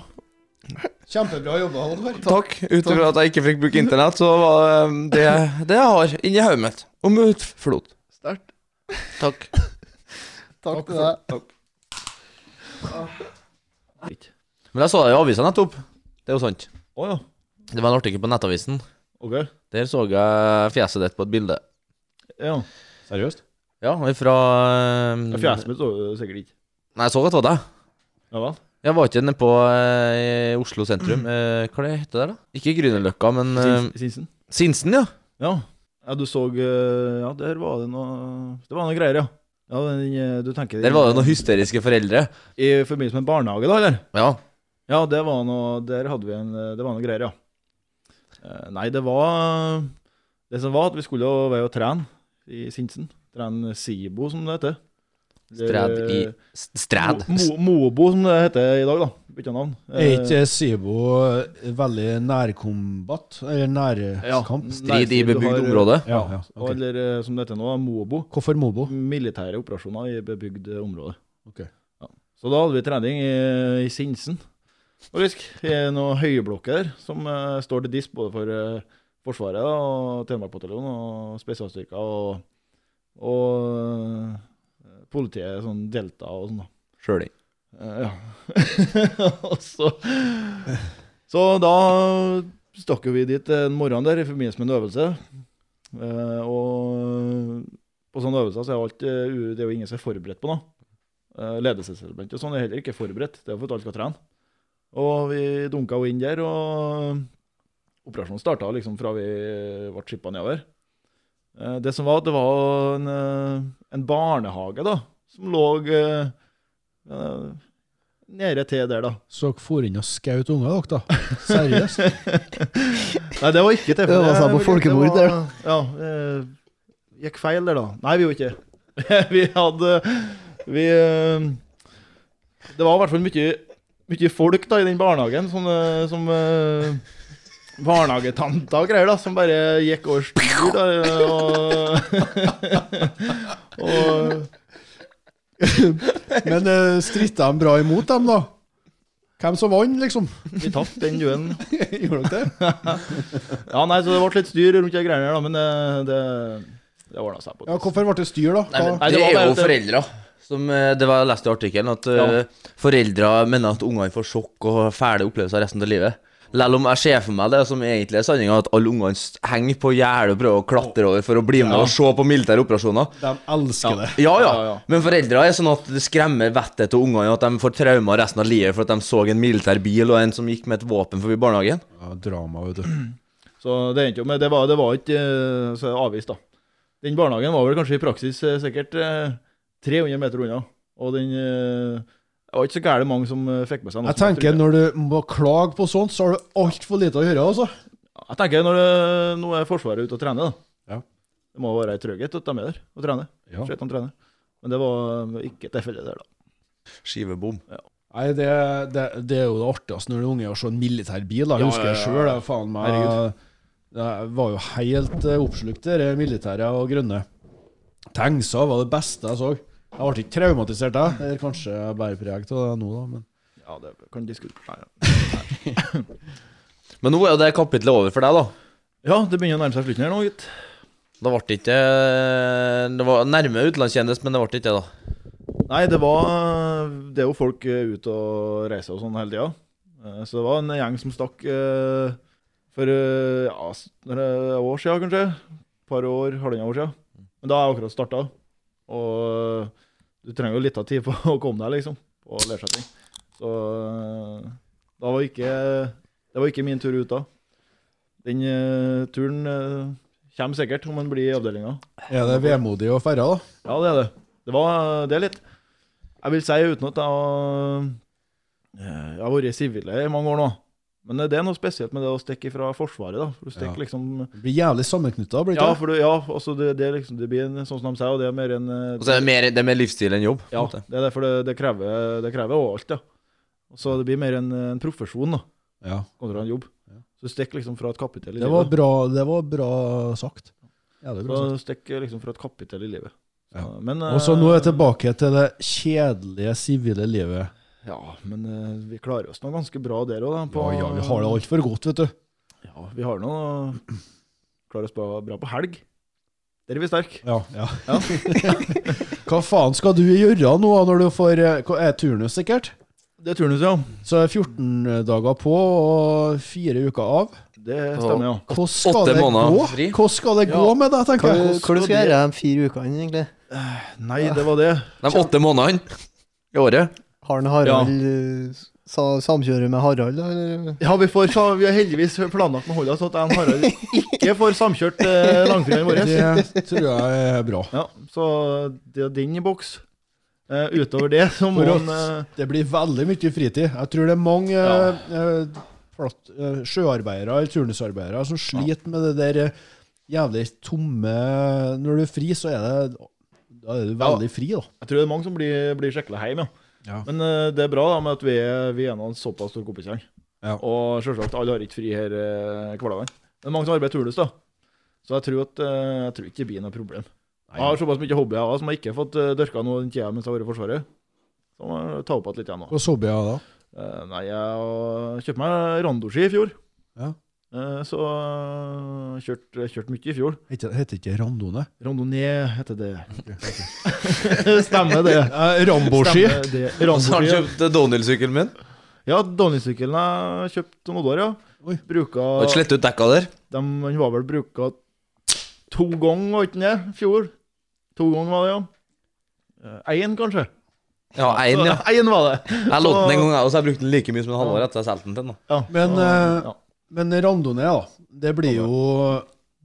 Speaker 1: Kjempebra jobba, Oddvar.
Speaker 2: Takk. Ut ifra at jeg ikke fikk bruke internett, så var eh, det det jeg har inni hodet mitt om utflod.
Speaker 4: Sterkt.
Speaker 2: Takk.
Speaker 4: Takk til deg.
Speaker 2: Men jeg så det i avisa nettopp. Det er jo sant.
Speaker 3: Å ja.
Speaker 2: Det var en artikkel på Nettavisen.
Speaker 3: OK.
Speaker 2: Der så jeg fjeset ditt på et bilde.
Speaker 3: Ja.
Speaker 1: Seriøst?
Speaker 2: Ja, ifra
Speaker 3: Ja,
Speaker 2: eh,
Speaker 3: Fjeset mitt så du sikkert ikke.
Speaker 2: Nei, jeg så at det var deg.
Speaker 3: Ja vel?
Speaker 2: Jeg var ikke nede på eh, i Oslo
Speaker 3: (clears throat)
Speaker 2: sentrum. Eh, hva det heter det der, da? Ikke Grünerløkka, men eh,
Speaker 3: Sins- Sinsen?
Speaker 2: Sinsen, ja.
Speaker 3: Ja. ja, du så eh, Ja, der var det noe Det var noe greier, ja. ja den, eh, du tenker
Speaker 2: Der var det noen hysteriske foreldre.
Speaker 3: I forbindelse med en barnehage, da, eller?
Speaker 2: Ja.
Speaker 3: Ja, det var noe Der hadde vi en eh, Det var noe greier, ja. Eh, Nei, det var Det som var, at vi skulle jo være og trene i Sinsen. Trene SIBO, som det heter. Det-
Speaker 2: Stræd i s- Stræd?
Speaker 3: Mo, Mo- Mobo, som det heter i dag, da. Bytta navn. Eh,
Speaker 1: Er ikke Sibo eh, veldig nærkombat? Eller nærkamp?
Speaker 2: Strid i
Speaker 3: eh,
Speaker 2: bebygd område?
Speaker 1: Ja, ja, ok.
Speaker 3: Eller eh, som det heter nå, Mobo.
Speaker 1: Hvorfor Mobo?
Speaker 3: Militære operasjoner i bebygd eh, område.
Speaker 1: Ok.
Speaker 3: Ja. Så da hadde vi trening i, i Sinsen, faktisk. I noen høyblokker der, som eh, står til disk både for eh, Forsvaret da, og Telemarkbataljonen og spesialstyrker og, og eh, politiet, sånn Delta og sånn. da.
Speaker 2: Sjøl ikke.
Speaker 3: Eh, ja. (laughs) og så Så da stakk jo vi dit en morgen der i forbindelse med en øvelse. Eh, og på sånne øvelser så er jo alt eh, u- Det er jo ingen som er forberedt på noe. Uh, Ledelseselement og sånn er heller ikke forberedt. Det er jo for at alle skal trene. Og vi dunka jo inn der, og operasjonen starta liksom fra vi ble skippa nedover. Eh, det som var, at det var en, eh, en barnehage da, som lå eh, eh, nede til der, da.
Speaker 1: Så dere for inn og skjøt unger, dere, da? Seriøst? (laughs)
Speaker 3: Nei, det var ikke tilfellet.
Speaker 4: Øva seg på folkemord
Speaker 3: Det var- Ja. eh, Gikk feil der, da. Nei, (laughs) vi gjorde ikke det. Vi hadde Vi eh, Det var i hvert fall mye mye folk da i den barnehagen. Sånne som eh, Barnehagetanter og greier, da, som bare gikk over styr. Da, og, (laughs) og
Speaker 1: Men uh, stritta de bra imot dem, da? Hvem som vant, liksom?
Speaker 3: vi tapte den duellen.
Speaker 1: (laughs) Gjorde dere det?
Speaker 3: Ja, nei, så det ble litt styr rundt de greiene her, da, men eh, det, det ordna seg. på
Speaker 1: Ja, hvorfor ble det styr, da?
Speaker 2: Nei, men
Speaker 1: Hva?
Speaker 3: Nei, det
Speaker 2: det,
Speaker 3: var
Speaker 2: er
Speaker 3: bare
Speaker 2: jo
Speaker 3: at det-
Speaker 2: foreldra. Som eh, det var jeg leste i artikkelen, at eh, foreldre mener at ungene får sjokk og fæle opplevelser resten av livet. Selv om jeg ser for meg det som egentlig er sanninga, at alle ungene s- henger på gjerdet og prøver å klatre over for å bli med og se på militære operasjoner.
Speaker 1: De elsker det.
Speaker 2: Ja, ja.
Speaker 3: Ja, ja.
Speaker 2: Men foreldra er sånn at det skremmer vettet til ungene, at de får traumer resten av livet for at de så en militær bil og en som gikk med et våpen forbi barnehagen.
Speaker 1: Ja, drama, vet du.
Speaker 3: Så det endte jo med Det var, det var ikke eh, så avvist, da. Den barnehagen var vel kanskje i praksis eh, sikkert eh, 300 meter unna. Og den eh, Det var ikke så gærent mange som eh, fikk med seg noe.
Speaker 1: Jeg
Speaker 3: som
Speaker 1: tenker
Speaker 3: tror-
Speaker 1: Når du må klage på sånt, så har du altfor lite å gjøre. altså.
Speaker 3: Jeg tenker når det, nå er Forsvaret ute og trener, da.
Speaker 1: Ja.
Speaker 3: Det må være ei trygghet at de er der og trener.
Speaker 1: Ja.
Speaker 3: Sett de trener. Men det var eh, ikke tilfellet der, da.
Speaker 2: Skivebom.
Speaker 1: Nei, det, det, det er jo det artigste når det er unge å se en militærbil. da. Jeg
Speaker 3: Ja,
Speaker 1: husker
Speaker 3: ja,
Speaker 1: jeg
Speaker 3: ja.
Speaker 1: sjøl. Jeg faen meg,
Speaker 3: Herregud.
Speaker 1: jeg var jo helt eh, oppslukt i det militære og grønne. Tankser var det beste jeg så. Jeg ble ikke traumatisert, jeg. Eller kanskje jeg bærer preg av det nå, da. men...
Speaker 3: Ja, det kan diskutere. Nei, ja.
Speaker 2: Men nå er jo det kapitlet over for deg, da.
Speaker 3: ja, det begynner å nærme seg slutten her nå, gitt.
Speaker 2: Da ble det ikke eh, Det var nærme utenlandskjendis, men det ble ikke det, da.
Speaker 3: Nei, det var Det er jo folk eh, ute og reiser og sånn hele tida. Eh, Så det var en gjeng som stakk eh, for eh, ja, s- når det er år siden, kanskje. Et par år, halvannet år siden. Men da har jeg akkurat starta. Og eh, du trenger jo litt av tid på (laughs) å komme deg, liksom. Og lære seg ting. Så eh, da var ikke Det var ikke min tur ut da. Den eh, turen eh, kommer sikkert om den blir i avdelinga.
Speaker 1: Er det vemodig å ferde, da?
Speaker 3: Ja, det er det. Det var det er litt. Jeg vil si uten at jeg har eh, Jeg har vært i sivile i mange år nå. Men det er noe spesielt med det å stikke fra Forsvaret, da. For du stikker
Speaker 1: Ja.
Speaker 3: liksom
Speaker 1: Det blir jævlig sammenknytta, blir
Speaker 3: Ja,
Speaker 1: det ikke?
Speaker 3: for du, ja altså det, det, er liksom, det blir en, sånn som de sier, og det er mer en eh,
Speaker 2: Og så er det mer, det er mer livsstil enn jobb. på en
Speaker 3: Ja,
Speaker 2: måte.
Speaker 3: det er derfor det, det krever Det krever også alt, ja. Så det blir mer en, en profesjon, da,
Speaker 1: Ja.
Speaker 3: kontra en jobb. Så du stikker liksom fra et kapittel i
Speaker 1: Det var
Speaker 3: livet.
Speaker 1: bra, det var bra sagt. Jævlig bra
Speaker 3: Så
Speaker 1: sagt.
Speaker 3: du stikker liksom fra et kapittel i livet. Så,
Speaker 1: Ja.
Speaker 3: Men
Speaker 1: Og så
Speaker 3: eh,
Speaker 1: nå er jeg tilbake til det kjedelige sivile livet.
Speaker 3: Ja, men eh, vi klarer oss nå ganske bra der òg, da.
Speaker 1: Ja, ja, vi har det altfor godt, vet du.
Speaker 3: Ja, vi har nå Klarer oss bra, bra på helg. Der er vi sterke.
Speaker 1: Ja, ja. (laughs) Hva faen skal du gjøre nå når du får eh, hva Er turnus sikkert?
Speaker 3: Det er turnus, ja.
Speaker 1: Så er 14 dager på og fire uker av.
Speaker 3: Det stemmer, ja.
Speaker 1: Hvordan skal
Speaker 2: Åtte
Speaker 1: det
Speaker 2: måneder
Speaker 1: gå?
Speaker 2: fri.
Speaker 1: Hvordan skal det gå
Speaker 3: Ja.
Speaker 1: med deg,
Speaker 4: Hva,
Speaker 1: tenker jeg?
Speaker 4: hva du skal gjøre de fire ukene, egentlig?
Speaker 3: Nei, det var det.
Speaker 2: De åtte månedene i året.
Speaker 4: Har han Harald eh, sa, samkjører med Harald, da? Eller?
Speaker 3: Ja, vi, får, sa- vi har heldigvis planlagt med Holda så at jeg og Harald ikke får samkjørt eh, langfrien vår.
Speaker 1: Det tror jeg er bra.
Speaker 3: Ja, så det er den i boks. Eh, utover det så må
Speaker 1: For
Speaker 3: han
Speaker 1: oss.
Speaker 3: eh,
Speaker 1: Det blir veldig mye fritid. Jeg tror det er mange
Speaker 3: Ja.
Speaker 1: eh, platt, eh, sjøarbeidere eller turnusarbeidere som sliter med det der eh, jævlig tomme Når du er fri, så er det da er du veldig fri, da.
Speaker 3: Jeg tror det er mange som blir, blir sjekla hjem, ja.
Speaker 1: Ja.
Speaker 3: Men eh, det er bra da med at vi er, vi er en såpass stor kompisgjeng.
Speaker 1: Ja.
Speaker 3: Og selvsagt, alle har ikke fri her eh, hverdagen. Det er mange som arbeider turnus, da. Så jeg tror, at, eh, jeg tror ikke det blir noe problem. Jeg har såpass mye hobbyer jeg har, som jeg ikke har fått eh, dyrka noe den tida mens jeg har vært i Forsvaret. Så må jeg ta opp igjen litt igjen nå.
Speaker 1: Hva så jeg da?
Speaker 3: Eh, nei, jeg kjøpte meg randoski i fjor.
Speaker 1: Ja.
Speaker 3: Eh, så eh, kjørte kjørt mye i fjor.
Speaker 1: Heter heter ikke Randone?
Speaker 3: Randonee heter det. (laughs) Stemmer det.
Speaker 1: (laughs) Ramboski.
Speaker 3: Stemmer det.
Speaker 2: Så har han
Speaker 3: Randoski.
Speaker 2: kjøpt Donald-sykkelen min.
Speaker 3: Ja, Donny-sykkelen jeg kjøpte noen år, ja.
Speaker 1: Oi.
Speaker 3: Bruka
Speaker 2: Og slette ut dekka der.
Speaker 3: dem, Den var vel bruka to ganger, var ikke den det? I fjor. To ganger var det, ja. Én, kanskje.
Speaker 2: Ja, én, ja.
Speaker 3: (laughs) Én var det.
Speaker 2: Jeg lånte den en gang, jeg, og så jeg brukte den like mye som en halvår etter jeg solgte den til den. da.
Speaker 3: Ja,
Speaker 1: Men,
Speaker 3: så,
Speaker 1: eh,
Speaker 3: ja.
Speaker 1: Men Randone, da. Det blir jo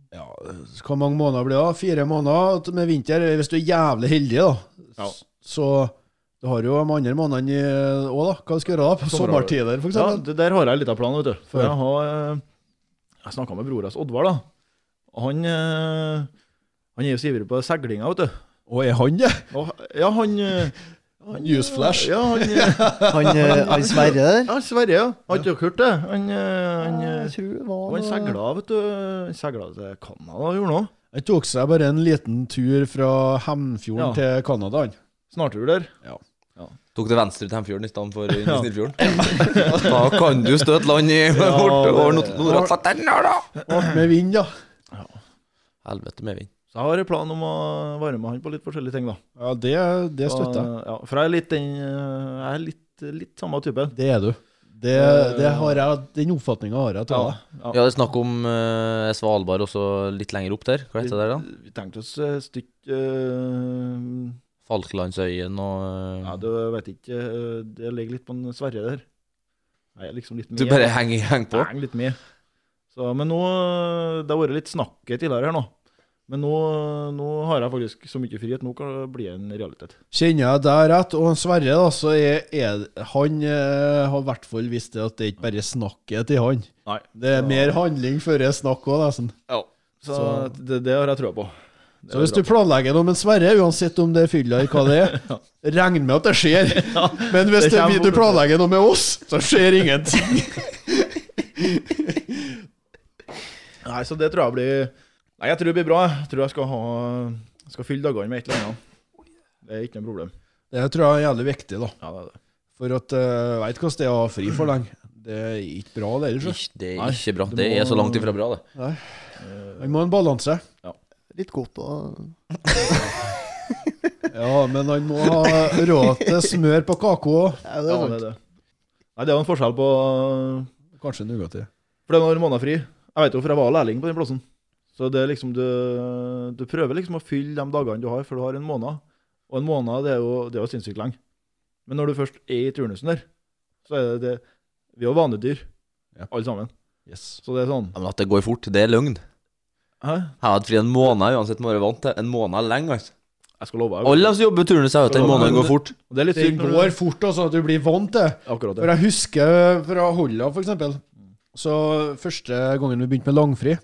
Speaker 1: ja, Hvor mange måneder blir det? da? Fire måneder med vinter, hvis du er jævlig heldig, da.
Speaker 3: Ja.
Speaker 1: Så du har jo de andre månedene òg, da. Hva du skal gjøre da? På
Speaker 3: Sommerarbeid.
Speaker 1: sommertider, for
Speaker 3: Ja,
Speaker 1: eksempel?
Speaker 3: det der har jeg litt av planen, vet du. For
Speaker 1: Ja.
Speaker 3: jeg har eh, Jeg snakka med bror hans Oddvar, da. Og han eh, Han er jo så ivrig på seglinga, vet du.
Speaker 1: Og er han det?
Speaker 3: Og, ja, han eh,
Speaker 1: Newsflash.
Speaker 3: Ja, han, eh,
Speaker 4: Han, eh, han Sverre der?
Speaker 3: ja, Sverre, ja. Har ikke dere hørt det? Han, eh, han, eh,
Speaker 4: Jeg tror det var
Speaker 3: han
Speaker 4: noe-
Speaker 3: segla, vet du. Han segla til Canada, gjorde han òg.
Speaker 1: Han tok seg bare en liten tur fra Hemfjorden
Speaker 3: Ja.
Speaker 1: til Canada, han.
Speaker 3: Snartur der.
Speaker 2: Tok det venstre til Hemfjorden i stedet for inn i Snillfjorden. da kan du støte land i bortover nord- nordøstfatteren der, da!
Speaker 1: Alt med vind, da.
Speaker 2: Helvete med vind.
Speaker 3: Så jeg har en plan om å være med han på litt forskjellige ting, da.
Speaker 1: Ja, det, det støtter jeg.
Speaker 3: Og, Ja, for jeg er litt den eh, Jeg er litt, litt samme typen.
Speaker 1: Det er du. Det, det har jeg, den oppfatninga har jeg av deg.
Speaker 3: Ja.
Speaker 2: Ja, det er snakk om eh, Svalbard også litt lenger opp der. Hva heter det der, da?
Speaker 3: Vi tenkte oss et stykke eh,
Speaker 2: Falklandsøyen og eh,
Speaker 3: Ja, du vet ikke eh, Det ligger litt på en Sverre der. Jeg er liksom litt med.
Speaker 2: Du bare henger heng på?
Speaker 3: Jeg er litt med. Så, men nå Det har vært litt snakket tidligere her nå. Men nå, nå har jeg faktisk så mye frihet. Nå kan det bli en realitet.
Speaker 1: Kjenner jeg deg rett, og Sverre, da, så er, er han eh, har i hvert fall visst det at det ikke bare er snakket til han.
Speaker 3: Nei.
Speaker 1: Det er mer handling før det er snakk òg, nesten.
Speaker 3: Så,
Speaker 1: Så-
Speaker 3: det, det har jeg trua på. Det
Speaker 1: Så
Speaker 3: er
Speaker 1: hvis
Speaker 3: bra.
Speaker 1: du planlegger noe med Sverre, uansett om det er fylla eller hva det
Speaker 3: (laughs)
Speaker 1: er, regn med at det skjer. (laughs) Men hvis
Speaker 3: det
Speaker 1: det
Speaker 3: kommer
Speaker 1: vi- du
Speaker 3: opp.
Speaker 1: planlegger noe med oss, så skjer ingenting.
Speaker 3: (laughs) Nei, så det tror jeg blir Nei, jeg tror det blir bra. Jeg tror jeg skal ha jeg skal fylle dagene med et eller annet. Det er ikke noe problem.
Speaker 1: Det tror jeg er jævlig viktig, da.
Speaker 3: Ja, det er det.
Speaker 1: For at uh, veit hvordan det er å ha fri for lenge. Det er ikke bra, det ellers. altså.
Speaker 2: Ikk- Det
Speaker 3: Nei,
Speaker 2: er ikke bra.
Speaker 3: du
Speaker 2: Det
Speaker 3: må-
Speaker 2: er så langt ifra bra, det.
Speaker 1: Man må ha en balanse.
Speaker 4: Litt godt da.
Speaker 1: Ja, men han må ha råd til smør på kaka òg.
Speaker 4: Ja, det er
Speaker 3: Ja, det,
Speaker 4: sant.
Speaker 3: er det. Nei, det er jo en forskjell på
Speaker 1: Kanskje nougat.
Speaker 3: For det er når måneder fri. Jeg vet jo, for jeg var lærling på den plassen. Så det er liksom du, du prøver liksom å fylle de dagene du har, for du har en måned. Og en måned det er jo, det er jo sinnssykt lenge. Men når du først er i turnusen der, så er det, det Vi er jo vanedyr,
Speaker 1: Ja.
Speaker 3: alle sammen.
Speaker 1: Yes.
Speaker 3: Så det er sånn
Speaker 2: Ja, Men at det går fort, det er løgn.
Speaker 3: Hæ?
Speaker 2: Jeg har hatt fri en måned uansett må være vant til. En måned er lenge, altså.
Speaker 3: Jeg skal love deg.
Speaker 2: Alle de som jobber turnus, sier at den måneden går fort.
Speaker 3: Og Det er litt
Speaker 1: Det
Speaker 3: sykt når
Speaker 1: går
Speaker 3: du
Speaker 1: fort, altså. at Du blir vant til
Speaker 3: Akkurat det.
Speaker 1: For jeg husker fra Holla, for eksempel. Så første gangen vi begynte med langfri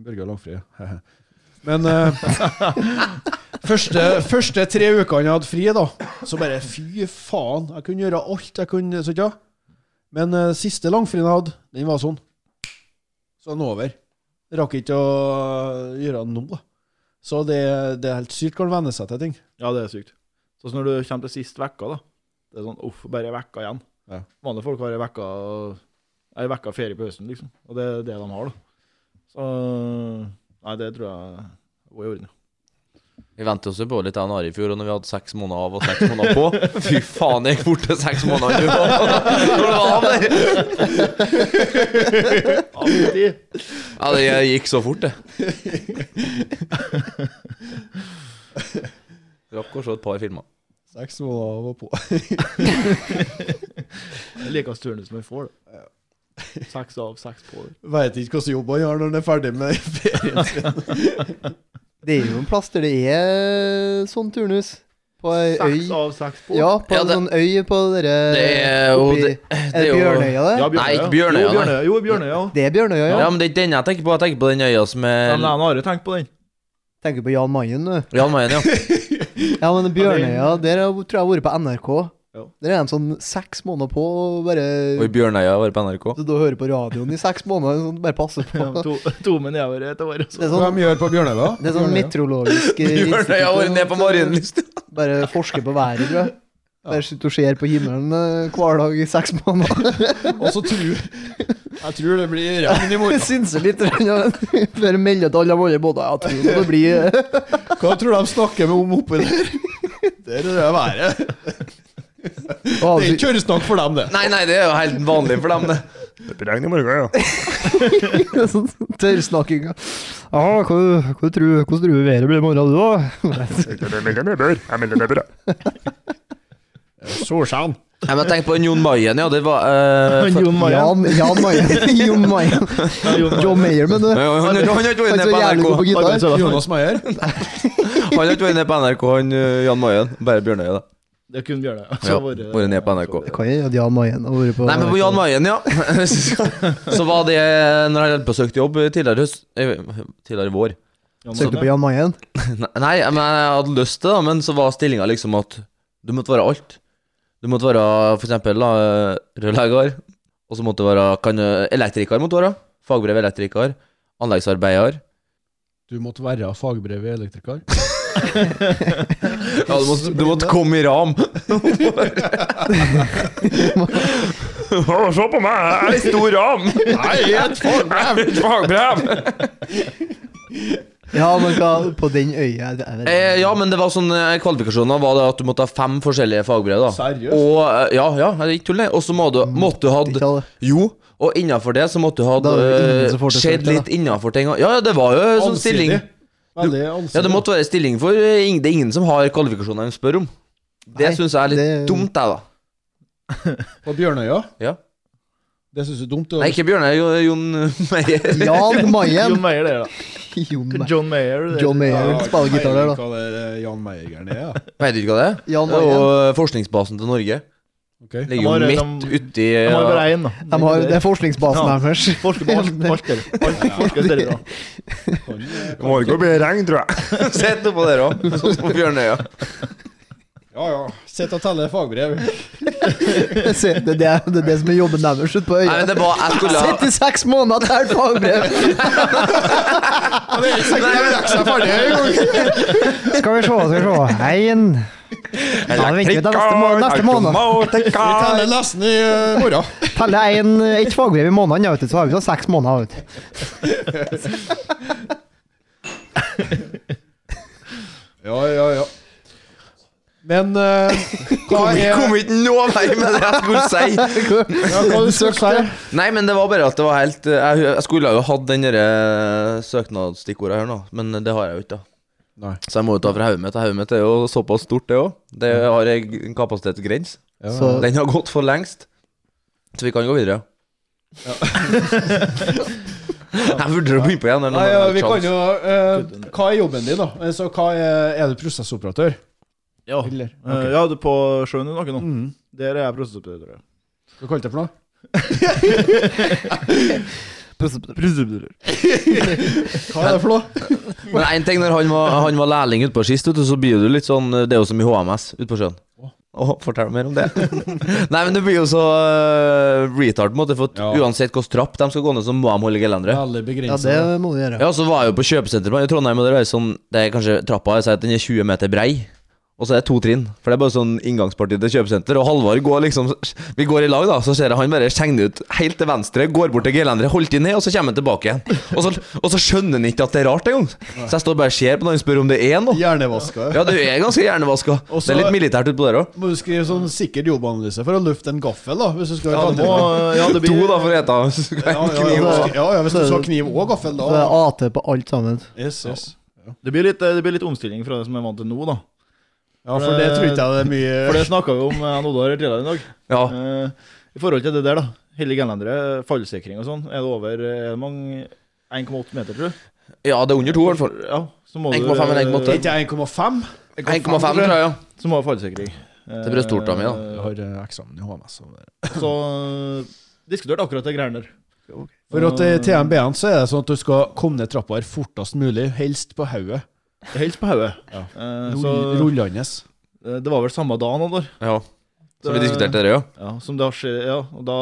Speaker 1: Børge har langfri, (laughs) Men eh, (laughs) første, første tre ukene jeg hadde fri, da, så bare fy faen. Jeg kunne gjøre alt jeg kunne. Så, ikke ja. Men eh, siste langfrien jeg hadde, den var sånn. Så den er over. Rakk ikke å eh, gjøre noe. Så det, det er helt sykt hvordan venne seg til ting.
Speaker 3: Ja, det er sykt. Sånn som når du kommer til sist vekka, da. Det er sånn uff, bare ei vekka igjen.
Speaker 1: Ja.
Speaker 3: Vanlige folk har ei vekka Ei vekka ferie på høsten, liksom. Og det er det de har, da. Så Nei, det tror jeg var i orden. ja.
Speaker 2: Vi ventet oss jo på litt av Ari i fjor, og når vi hadde seks måneder av og seks måneder (laughs) på Fy faen, det gikk fort til seks måneder! Du. (laughs) Når det var av der.
Speaker 3: Alltid.
Speaker 2: Ja, det gikk så (laughs) fort, det. Rakk å se et par filmer.
Speaker 1: Seks måneder var på.
Speaker 3: Jeg liker turnusen vi får, da. Seks av seks på.
Speaker 1: Veit ikke hvilken jobb han har når han er ferdig med (laughs) ferien.
Speaker 4: Det er jo en plass der det er sånn turnus. På ei øy.
Speaker 3: Seks av seks på.
Speaker 4: Ja, på
Speaker 2: Ja,
Speaker 4: en
Speaker 2: det-
Speaker 4: sånn øy på dere
Speaker 2: Det er jo
Speaker 4: Eh, oppi-
Speaker 2: det,
Speaker 4: Er
Speaker 2: det
Speaker 4: det
Speaker 2: er jo
Speaker 4: Bjørnøya, det?
Speaker 3: Ja,
Speaker 2: Nei, ikke
Speaker 3: Jo,
Speaker 2: Bjørnøya, nei.
Speaker 3: Bjørnøya. Jo, Bjørnøya.
Speaker 4: Det er Bjørnøya, ja.
Speaker 2: Ja, men det er ikke den jeg tenker på. Jeg tenker på den øya som
Speaker 3: Ja,
Speaker 2: er
Speaker 3: men jeg har jo tenkt på den.
Speaker 4: Tenker på Jan Mayen, du.
Speaker 2: Jan Mayen, ja.
Speaker 4: Ja, men Bjørnøya, der har- tror jeg har vært på NRK.
Speaker 3: Ja.
Speaker 4: Der er de sånn seks måneder på og
Speaker 2: Og i
Speaker 4: bare
Speaker 2: Bjørnøya var det på NRK.
Speaker 4: Så da hører på radioen i seks måneder, sånn, bare passer på.
Speaker 3: Ja, To, to med nedover et år. altså.
Speaker 4: Det er
Speaker 1: Hva
Speaker 4: sånn,
Speaker 1: de gjør på Bjørnøya?
Speaker 4: det er sånn
Speaker 1: Bjørnøya?
Speaker 4: meteorologisk eh,
Speaker 2: Bjørnøya har vært ned på liksom. Marienlyst.
Speaker 4: Bare forsker på været, tror jeg. Bare sitter og ser på himmelen eh, hver dag i seks måneder.
Speaker 1: Og så tror Jeg tror det blir regn i
Speaker 4: Jeg (laughs)
Speaker 1: morgen.
Speaker 4: synser litt grann, ja, men (laughs) før jeg melder til alle de andre båtene. Jeg tror det blir eh,
Speaker 1: Hva tror du de snakker med om oppi der? Der er det været. Det er
Speaker 4: avsky-
Speaker 1: ikke kjøresnakk for dem, det.
Speaker 2: Nei, nei, det er jo helt vanlig for dem, det.
Speaker 4: (laughs) sånn tørrsnakking. Ja, hva, hva tror, hvordan tror du været blir i morgen, du, da?
Speaker 1: Solskjerm.
Speaker 2: Nei, men tenk på den Jon Mayen, ja. Det var
Speaker 4: (laughs)
Speaker 2: eh, for-
Speaker 3: Jon Mayen.
Speaker 4: Jan, Jan (laughs) Mayen. Jon Mayen. John Mayer, men du.
Speaker 2: Nei, Han han- han har ikke vært
Speaker 4: Han
Speaker 2: ned
Speaker 4: som
Speaker 2: på
Speaker 4: jævlig god på
Speaker 2: NRK.
Speaker 4: gitar.
Speaker 1: Jonas Meyer.
Speaker 2: Han har ikke vært ned på NRK, han eh, Jan Mayen. Bare Bjørnøya, da.
Speaker 3: Det kunne Bjørnøya.
Speaker 2: Ja, vært ned på NRK.
Speaker 4: Det kan jo at Jan Mayen har vært på
Speaker 2: Nei, men på Jan Mayen,
Speaker 4: (laughs)
Speaker 2: ja. Så var det eh, når jeg hadde på søkt jobb tidligere høst eh, Tidligere vår.
Speaker 4: Søkte på Jan Mayen?
Speaker 2: Nei, men jeg hadde lyst til det, da, men så var stillinga liksom at Du måtte være alt. Du måtte være for eksempel da, eh, rørlegger, og så måtte du være kan, du- elektriker. måtte du være Fagbrev elektriker. Anleggsarbeider.
Speaker 6: Du måtte være fagbrev i elektriker.
Speaker 2: Ja, du måtte, du måtte komme i ram! Se på meg, jeg er i stor ram!
Speaker 1: Nei, et fagbrev!
Speaker 2: Fagbrev!
Speaker 4: Ja, men hva På den øya det er vel-
Speaker 2: Eh, ja, men det var sånn eh, kvalifikasjoner var det at du måtte ha fem forskjellige fagbrev. da
Speaker 6: Seriøst?
Speaker 2: Og eh, ja, ja, det er ikke tull, det. Og så må du, måtte du
Speaker 4: Ikke
Speaker 2: ha
Speaker 4: alle.
Speaker 2: Jo, og innafor det så måtte du
Speaker 4: Da er det ingen
Speaker 2: ha
Speaker 4: som
Speaker 2: eh,
Speaker 4: får til
Speaker 2: skjedd
Speaker 4: selv, da.
Speaker 2: litt innafor ting. Ja, ja, det var jo sånn stilling.
Speaker 6: Veldig
Speaker 2: Ja, det måtte være stilling for eh, ing- Det er ingen som har kvalifikasjoner de spør om. Det
Speaker 4: Nei,
Speaker 2: syns jeg er litt
Speaker 4: det-
Speaker 2: dumt, jeg, da.
Speaker 6: På Bjørnøya?
Speaker 2: Ja.
Speaker 6: Det syns du er dumt? du.
Speaker 2: Nei, ikke Bjørnar, jo- Jon (laughs) Meyer.
Speaker 4: (laughs) Jan Mayen.
Speaker 3: John Mayer, det er da.
Speaker 4: Jon Mayen.
Speaker 3: John Mayer. Det.
Speaker 4: John Mayer
Speaker 6: Ja,
Speaker 4: spiller gitar der, da.
Speaker 6: Hva det er, Jan Meyer-greiene er, ja.
Speaker 2: Vet du ikke hva det er?
Speaker 4: Jan
Speaker 2: Det er jo
Speaker 4: Mayen.
Speaker 2: eh, forskningsbasen til Norge.
Speaker 6: Ok.
Speaker 2: Ligger jo
Speaker 3: De har-
Speaker 2: midt
Speaker 3: de-
Speaker 2: uti
Speaker 3: De har bare
Speaker 2: ja.
Speaker 3: én, da.
Speaker 4: De har, det er forskningsbasen
Speaker 3: Ja.
Speaker 4: deres. (laughs)
Speaker 3: Forsker på alt, alt det der. Alt forskes der, da.
Speaker 6: Kan, eh,
Speaker 2: Morgen blir det regn, tror jeg. (laughs) Sett nå på dere òg, sånn som på Bjørnøya.
Speaker 6: Ja ja. Sitt og telle fagbrev.
Speaker 4: Se, det, er det, det er det som er jobben deres ute på
Speaker 2: Nei, men
Speaker 4: øya.
Speaker 2: det var Jeg skulle ha
Speaker 4: Sitt i seks måneder til et fagbrev!
Speaker 7: Skal vi se, skal vi se. Én Da venter vi til neste måned. Neste måned.
Speaker 1: Vi teller lasten i eh, morgen.
Speaker 7: Teller én ett fagbrev i måneden, ja, vet du, så har vi sånn seks måneder. Vet. du.
Speaker 6: Ja ja ja. Men eh, hva
Speaker 2: Kom,
Speaker 6: er
Speaker 2: kom ikke noe vei med det jeg skulle si!
Speaker 6: ja, hva du søkte?
Speaker 2: Nei, men det var bare at det var helt eh, Jeg, jeg skulle jo hatt den derre søknadsstikkordet her nå, men det har jeg jo ikke. da.
Speaker 6: Nei.
Speaker 2: Så jeg må jo ta fra hodet mitt. og Hodet mitt er jo såpass stort, det òg. Det har jeg en kapasitetsgrense.
Speaker 6: Ja.
Speaker 4: Så
Speaker 2: Den har gått for lengst. Så vi kan gå videre. (laughs) jeg vurderer å begynne på igjen. eller noe,
Speaker 6: Nei, ja,
Speaker 2: men
Speaker 6: vi
Speaker 2: jeg har
Speaker 6: kan
Speaker 2: ikke
Speaker 6: jo eh, Hva er jobben din, da? Altså, hva er, er du prosessoperatør?
Speaker 3: Ja.
Speaker 6: Eller?
Speaker 3: Eh, ja, du på sjøen du noe nå?
Speaker 6: Mm.
Speaker 3: Der er jeg prosessoperatør.
Speaker 6: Hva kalte det for noe? Hva er det for noe?
Speaker 2: sjans. Men en ting når han var, han var lærling utpå sist, vet du, så blir du litt sånn Det er jo som i HMS ute på sjøen. Åh, fortell mer om det. Nei, men det blir jo så eh, retard, på en måte. For at
Speaker 6: Ja.
Speaker 2: uansett hvilken trapp de skal gå ned, så må de holde gelenderet.
Speaker 6: Veldig
Speaker 4: ja,
Speaker 6: begrensa.
Speaker 4: det må du gjøre.
Speaker 2: Ja, så var jeg jo på kjøpesenteret i Trondheim, og det er sånn Det er kanskje trappa Jeg sier at den er 20 meter brei. Og så er det to trinn, for det er bare sånn inngangsparti til kjøpesenter. Og Halvard går liksom Vi går i lag, da, så ser jeg han bare skjenger ut helt til venstre, går bort til gelenderet, holder den ned, og så kommer han tilbake igjen. Og så, og så skjønner han ikke at det er rart engang. Så jeg står bare og ser på når han spør om det er noe.
Speaker 6: Hjernevaska.
Speaker 2: Ja, du er ganske hjernevaska.
Speaker 6: Og så-
Speaker 2: Det er litt militært utpå der òg.
Speaker 6: Må du skrive sånn sikker jobbanalyse for å lufte en gaffel, da? Hvis du skal
Speaker 3: Ja, det må, ja, det
Speaker 2: To,
Speaker 3: blir
Speaker 2: da, for å hete hvis du skal
Speaker 6: Ja,
Speaker 2: ha en
Speaker 6: ja, ja,
Speaker 2: (laughs) kniv.
Speaker 6: ja,
Speaker 4: da.
Speaker 6: ja, ja, hvis du skal ha kniv og gaffel,
Speaker 4: Så det
Speaker 6: da.
Speaker 4: er AT på alt sammen.
Speaker 6: Yes, yes.
Speaker 3: Det blir, litt, det blir litt omstilling fra det som jeg er vant til nå, da.
Speaker 6: Ja, for det tror ikke jeg det er
Speaker 3: For
Speaker 6: mye
Speaker 3: det snakka vi om eh, han Oddvar tidligere i dag.
Speaker 2: Ja.
Speaker 3: Eh, I forhold til det der, da. Hellig gelendere, fallsikring og sånn. Er det over eh, er det mange 1,8 meter, tror du?
Speaker 2: ja, det er under to, i hvert fall.
Speaker 3: Ja, så må du
Speaker 2: 1,5 eller 1,8?
Speaker 6: Ikke 1,5?
Speaker 2: 1,5, tror jeg. ja.
Speaker 3: Så må du ha fallsikring.
Speaker 2: Det blir stort av meg, da.
Speaker 6: Jeg har eh, eksamen i HMS. og det-
Speaker 3: Så eh, diskuterte akkurat det greiene der.
Speaker 6: For at eh, i TMB-en så er det sånn at du skal komme ned trappa her fortest mulig, helst på hodet.
Speaker 3: Helst på hodet.
Speaker 6: Ja.
Speaker 3: Eh, Så
Speaker 6: Rull- Rullende.
Speaker 3: eh, det var vel samme dagen, Oddvar.
Speaker 2: ja. Så vi diskuterte det, ja.
Speaker 3: Ja, som det har skjedd, ja. Og da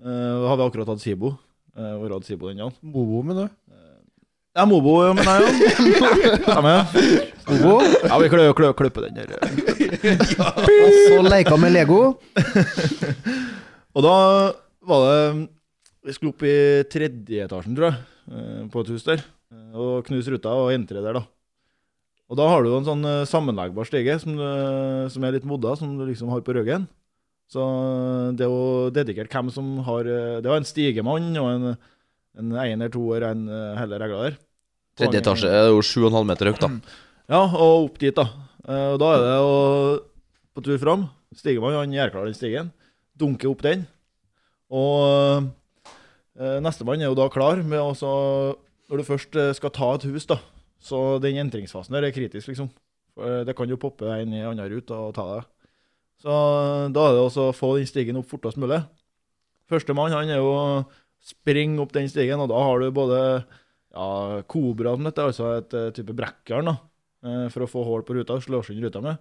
Speaker 3: eh, har vi akkurat hatt Sibo. Uh, og hatt Sibo den dagen.
Speaker 6: Bobo, mener du?
Speaker 3: Ja, Mobo, ja, men nei, ja. (laughs) ja men, Mobo? Ja, vi klø, klø, kløpper den der. eh.
Speaker 4: Og så leker han med Lego.
Speaker 3: Og da var det Vi skulle opp i tredje etasjen, tror jeg, eh, på et hus der. eh, Og knuse ruta og entre der, da. Og da har du jo en sånn eh, sammenleggbar stige som, eh, som er litt modda, som du liksom har på ryggen. Så eh, det er jo dedikert hvem som har eh, Det var en stigemann og en, en einer, toer, en eh, hele regla der.
Speaker 2: Tredje etasje er jo 7,5 meter høyt, da.
Speaker 3: Ja, og opp dit, da. Eh, Og da er det å på tur fram. Stigemann han gjør klar den stigen. Dunker opp den. Og eh, nestemann er jo da klar med å så- Når du først eh, skal ta et hus, da, så den entringsfasen der er kritisk, liksom. For Det kan jo poppe en i andre rute og ta deg. Så da er det også å få den stigen opp fortest mulig. Førstemann han er jo å springe opp den stigen, og da har du både ja, kobra, som dette, altså et eh, type brekkjern, da eh, for å få hull på ruta, slå sund ruta med.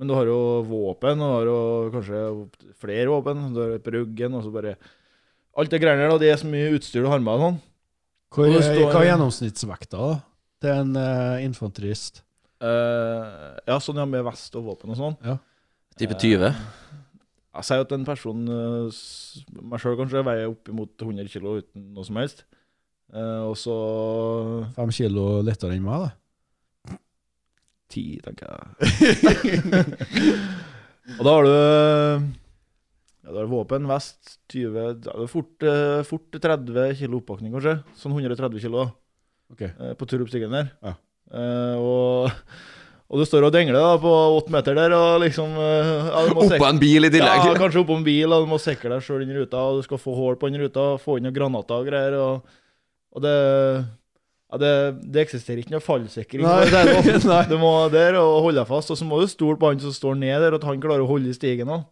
Speaker 3: Men du har jo våpen, og du har jo kanskje flere våpen. Du har et på ryggen, og så bare Alt det greiene der, og det er så mye utstyr du har med deg. Sånn.
Speaker 6: Hvor, eh,
Speaker 3: Og det står-
Speaker 6: hva er gjennomsnittsvekta da? til en eh, infanterist?
Speaker 3: Eh, ja, sånn ja, med vest og våpen og sånn.
Speaker 2: Type 20.
Speaker 3: Jeg sier at en person, eh, s- meg sjøl kanskje, veier oppimot 100 kilo uten noe som helst. Eh, og så
Speaker 6: Fem kilo lettere enn meg, da?
Speaker 3: ti, tenker jeg. (laughs) og da har du ja, da har du våpen, vest, 20 ja, det er fort, eh, fort 30 kilo oppakning, kanskje. Sånn 130 kilo da,
Speaker 6: Ok.
Speaker 3: eh, på tur opp stigen der.
Speaker 6: Ja.
Speaker 3: Eh, og, og du står og dengler da, på åtte meter der, og liksom eh, ja, (laughs) du må sikre-
Speaker 2: Oppå en bil i tillegg.
Speaker 3: ja, kanskje oppå en bil, og du må sikre deg sjøl inn i ruta, og du skal få hull på den ruta, få inn noen granater og greier, og, og det ja, det, det eksisterer ikke noe fallsikring.
Speaker 6: Nei.
Speaker 3: Det er noe-
Speaker 6: Nei.
Speaker 3: Du må der og holde deg fast, og så må du stole på han som står ned der, at han klarer å holde i stigen òg.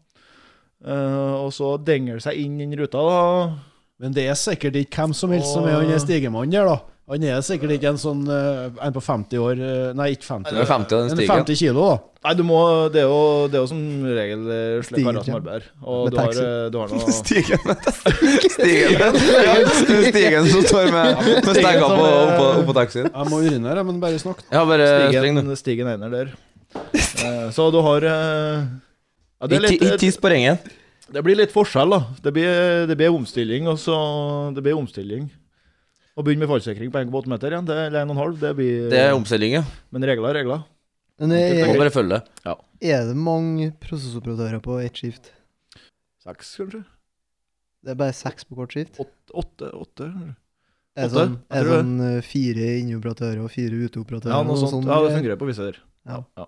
Speaker 3: og så denger det seg inn den ruta, da.
Speaker 6: Men det er sikkert ikke hvem som helst som er han er stigemannen der, da. Han er sikkert ikke en sånn eh, en på 50 år eh, Nei, ikke 50.
Speaker 2: Det er 50 av den
Speaker 6: En
Speaker 2: stigen.
Speaker 6: 50 kilo, da.
Speaker 3: Nei, du må, det, er jo, det er jo som regel eh, slike karer som arbeider. Og
Speaker 4: Med
Speaker 3: du har,
Speaker 4: taxi.
Speaker 3: eh, du har noe
Speaker 2: Stigen. Stigen. Stigen som står med, med stenga på oppå, oppå taxien.
Speaker 6: Jeg må urinere, men bare snakk.
Speaker 2: Ja, bare streng, du.
Speaker 3: Stigen, stigen Einer der. Eh, så du har eh, ja, det, er
Speaker 2: Ikke ikke
Speaker 3: litt, eh,
Speaker 2: tiss på ringen.
Speaker 3: det blir litt forskjell, da. Det blir, det blir omstilling, og så Det blir omstilling. Å begynne med fallsikring på 1,8 meter igjen, det, eller 1,5, det blir
Speaker 2: Det er omstilling, ja.
Speaker 3: Men regler er regler.
Speaker 4: Men
Speaker 2: Må
Speaker 4: er,
Speaker 2: bare følge det.
Speaker 4: er det mange prosessoperatører på ett skift?
Speaker 3: Seks, kanskje?
Speaker 4: Det er bare seks på hvert skift?
Speaker 3: Åtte? åtte, åtte. kanskje?
Speaker 4: Er det
Speaker 3: Åtte,
Speaker 4: sånn,
Speaker 3: jeg
Speaker 4: er det
Speaker 3: tror det.
Speaker 4: sånn eh, fire inneoperatører og fire uteoperatører?
Speaker 3: Ja, noe
Speaker 4: og
Speaker 3: sånt.
Speaker 4: sånn,
Speaker 3: Ja, det
Speaker 4: eh,
Speaker 3: fungerer på visse der.
Speaker 4: Ja.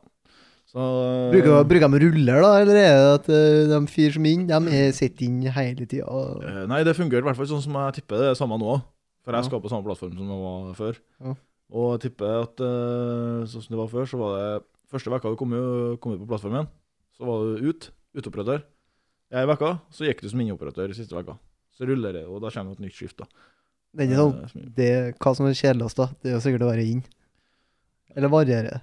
Speaker 3: Så
Speaker 4: Bruker, bruker de ruller, da, eller er det at eh, de fire som er inn, de er sitter inn hele tida? og-
Speaker 3: Eh, Nei, det fungerer i hvert fall sånn som jeg tipper det er samme nå òg. For jeg
Speaker 4: Ja.
Speaker 3: skal på samme plattform som jeg var før.
Speaker 4: Ja.
Speaker 3: Og jeg tipper at eh, sånn som det var før, så var det Første vekka du kom, jo- kom ut på plattformen, så var du ut, uteoperatør. Ei uke, så gikk du som inneoperatør siste vekka. Så ruller det, og da kommer det et nytt skift, da.
Speaker 4: Den er sånn,
Speaker 3: Eh, som-
Speaker 4: det, hva som er kjedeligst, da? Det er jo sikkert å være inn. Eller variere.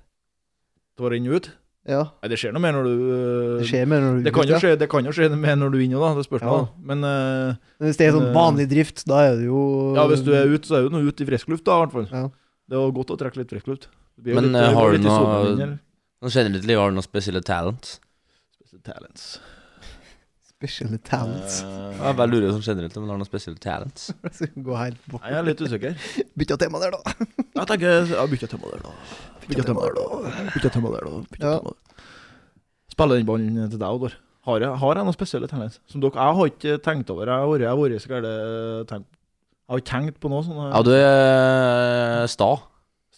Speaker 3: Det var inn og ut.
Speaker 4: Ja,
Speaker 3: Nei, det skjer noe mer når du
Speaker 4: det
Speaker 3: eh,
Speaker 4: skjer mer når du
Speaker 3: det kan jo
Speaker 4: ja.
Speaker 3: skje, det kan jo skje mer når du er inne, da. Det spørs nå,
Speaker 4: Ja.
Speaker 3: da. Men eh,
Speaker 4: Men Hvis det er sånn vanlig drift, da er det jo
Speaker 3: ja, hvis du er ute, så er du nå ute i frisk luft, da, i hvert fall.
Speaker 4: Ja.
Speaker 3: Det er jo godt å trekke litt frisk luft. Det blir jo
Speaker 2: Men,
Speaker 3: litt-
Speaker 2: eh,
Speaker 3: det går
Speaker 2: har du
Speaker 3: litt i
Speaker 2: noe-
Speaker 3: solen inn, eller?
Speaker 2: Nå kjenner du til livet, har du noen spesielle talents?
Speaker 3: Talents.
Speaker 4: Special talents.
Speaker 3: Eh.
Speaker 2: Jeg bare lurer sånn generelt om du har noen spesielle talents.
Speaker 4: (laughs) Så Gå helt bort.
Speaker 3: Nei, jeg er litt usikker.
Speaker 4: Bytte tema der, da.
Speaker 3: Jeg tenker jeg bytter tema der, da. Bytter tema der, da. Bytter tema der, da. Bytter
Speaker 4: Ja.
Speaker 3: tema der. Spiller den ballen til deg, Odor. Har jeg, har jeg noen spesielle talents? Som dere, Jeg har ikke tenkt over Jeg har vært- jeg har vært så gæren tenkt Jeg har ikke tenkt på noe sånn
Speaker 2: Ja, du er sta,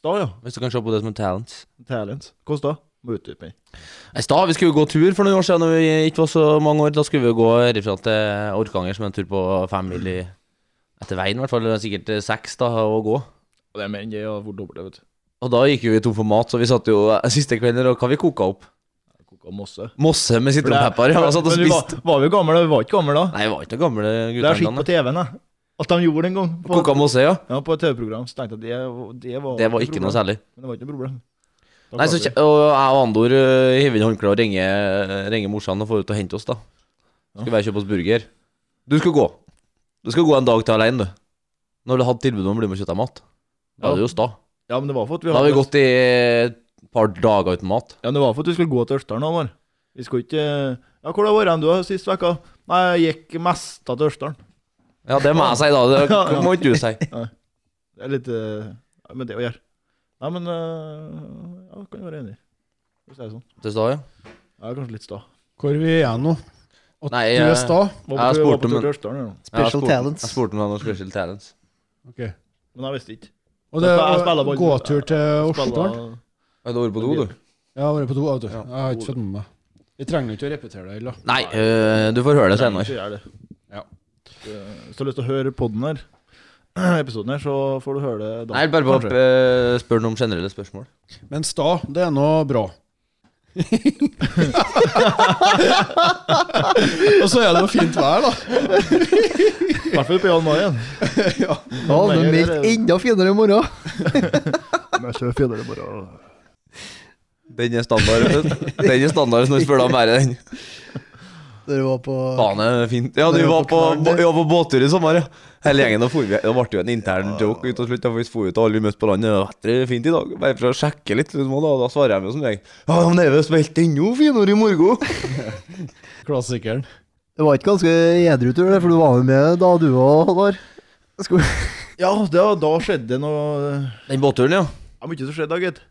Speaker 3: Sta, ja.
Speaker 2: hvis du kan se på det som en talent.
Speaker 3: Talents. Hvordan da? Må utdype meg.
Speaker 2: I stad vi skulle jo gå tur for noen år siden, når vi ikke var så mange år. Da skulle vi jo gå herifra til Orkanger, som er en tur på fem mil i etter veien, i hvert fall. Det er Sikkert eh, seks da, å gå.
Speaker 3: Og Det er menn, det har vært dobbelt, det, vet du.
Speaker 2: Og da gikk jo vi tom for mat, så vi satt jo eh, (laughs) siste kvelden og hva vi koka opp?
Speaker 3: Jeg koka masse.
Speaker 2: Mosse med
Speaker 3: For det-
Speaker 2: sitronpepper. Ja, og satt og
Speaker 3: Men vi
Speaker 2: spiste.
Speaker 3: Var, var vi gamle da? Vi var ikke gamle da.
Speaker 2: Nei, vi var ikke noen gamle
Speaker 3: Det er skitt
Speaker 2: gutter.
Speaker 3: på TV-en, jeg. At de gjorde det en gang. På,
Speaker 2: Koka mosse, ja.
Speaker 3: ja, på et TV-program. Så tenkte jeg at det, det var
Speaker 2: Det var ikke noe særlig.
Speaker 3: Men det var ikke noe problem. Da
Speaker 2: Nei, så,
Speaker 3: klarte vi.
Speaker 2: kje- og jeg og Andor øh, hiver inn håndkleet og ringer, eh, ringer morsan og får ut og hente oss, da. Skal vi kjøpe oss burger? Du skal gå. Du skal gå en dag til alene, du. Når du hadde tilbud om å bli med og kjøpe deg mat. Da
Speaker 3: Ja.
Speaker 2: er det jo sta.
Speaker 3: Ja, men det var for at vi
Speaker 2: Da har vi
Speaker 3: hadde-
Speaker 2: gått i et par dager uten mat.
Speaker 3: Ja, men det var for at vi skulle gå til Ørstdalen Håvard. Vi skulle ikke Ja, hvor har vært hen du da, sist uke? Nei, jeg gikk mest av til Ørstdalen.
Speaker 2: Ja, det må jeg si, da. (laughs) Det k- må ikke du si.
Speaker 3: Det er litt eh, ja, med det å gjøre. Nei, men eh, Ja, kan jeg være enig i. Hvis det er sånn.
Speaker 2: Det sa jeg.
Speaker 3: Jeg er kanskje litt sta.
Speaker 6: Hvor er vi igjen nå? Og
Speaker 2: Nei,
Speaker 6: du
Speaker 2: eh,
Speaker 6: er sta?
Speaker 3: Var på-
Speaker 2: Jeg
Speaker 3: var på
Speaker 2: spurte,
Speaker 3: tur
Speaker 2: men-
Speaker 3: til Ørstdalen, ja.
Speaker 2: Jeg
Speaker 4: Special
Speaker 2: spurte-
Speaker 4: talents.
Speaker 2: Jeg spurte om det var noen special talents.
Speaker 3: Men jeg visste ikke.
Speaker 6: Og det
Speaker 3: Jeg spiller- jeg spiller
Speaker 6: er
Speaker 3: ball.
Speaker 6: gåtur til Orstdal?
Speaker 3: Spillet-
Speaker 2: Har du vært på do, du?
Speaker 6: Jeg har vært på do, vet du. Jeg har ikke fått med meg. Vi trenger jo ikke å repetere det. Ella.
Speaker 2: Nei, øh, du får høre det senere.
Speaker 3: Ikke gjør det.
Speaker 6: Ja.
Speaker 3: Eh, Hvis du har lyst til å høre podden her, (clears throat) episoden her, så får du høre det da.
Speaker 2: Nei, bare på,
Speaker 3: kanskje.
Speaker 2: øh, spør noen generelle spørsmål.
Speaker 6: Men sta, det er nå bra. (laughs) og så er det jo fint vær, da.
Speaker 3: I hvert fall på Jan Mayen.
Speaker 4: Ja, men meldt enda finere i morgen.
Speaker 3: Men jeg kjører fjellere bare.
Speaker 2: Den er standard. vet du. (laughs) Den er standard når du spør deg om været. den.
Speaker 4: Dere var på
Speaker 2: Faen, det er fint. Ja, du
Speaker 4: Dere
Speaker 2: var
Speaker 4: var
Speaker 2: på,
Speaker 4: på knall,
Speaker 2: vi var på båttur i sommer, ja. Hele gjengen. da for vi- Det ble jo en intern joke ut og slutt. da, for Vi for ut og alle vi møtte på landet. Ja, det er fint i dag. Bare for å sjekke litt. liksom, og Da, da svarer jeg jo som deg. Ja, men det er jo spilt enda finere i morgen.
Speaker 6: Klassikeren.
Speaker 4: Det var ikke ganske edru tur, det, for du var jo med da du var Håvard. Skulle
Speaker 3: Ja, da, da skjedde det noe
Speaker 2: Den båtturen, ja.
Speaker 3: Det er mye som skjedde, da, gitt.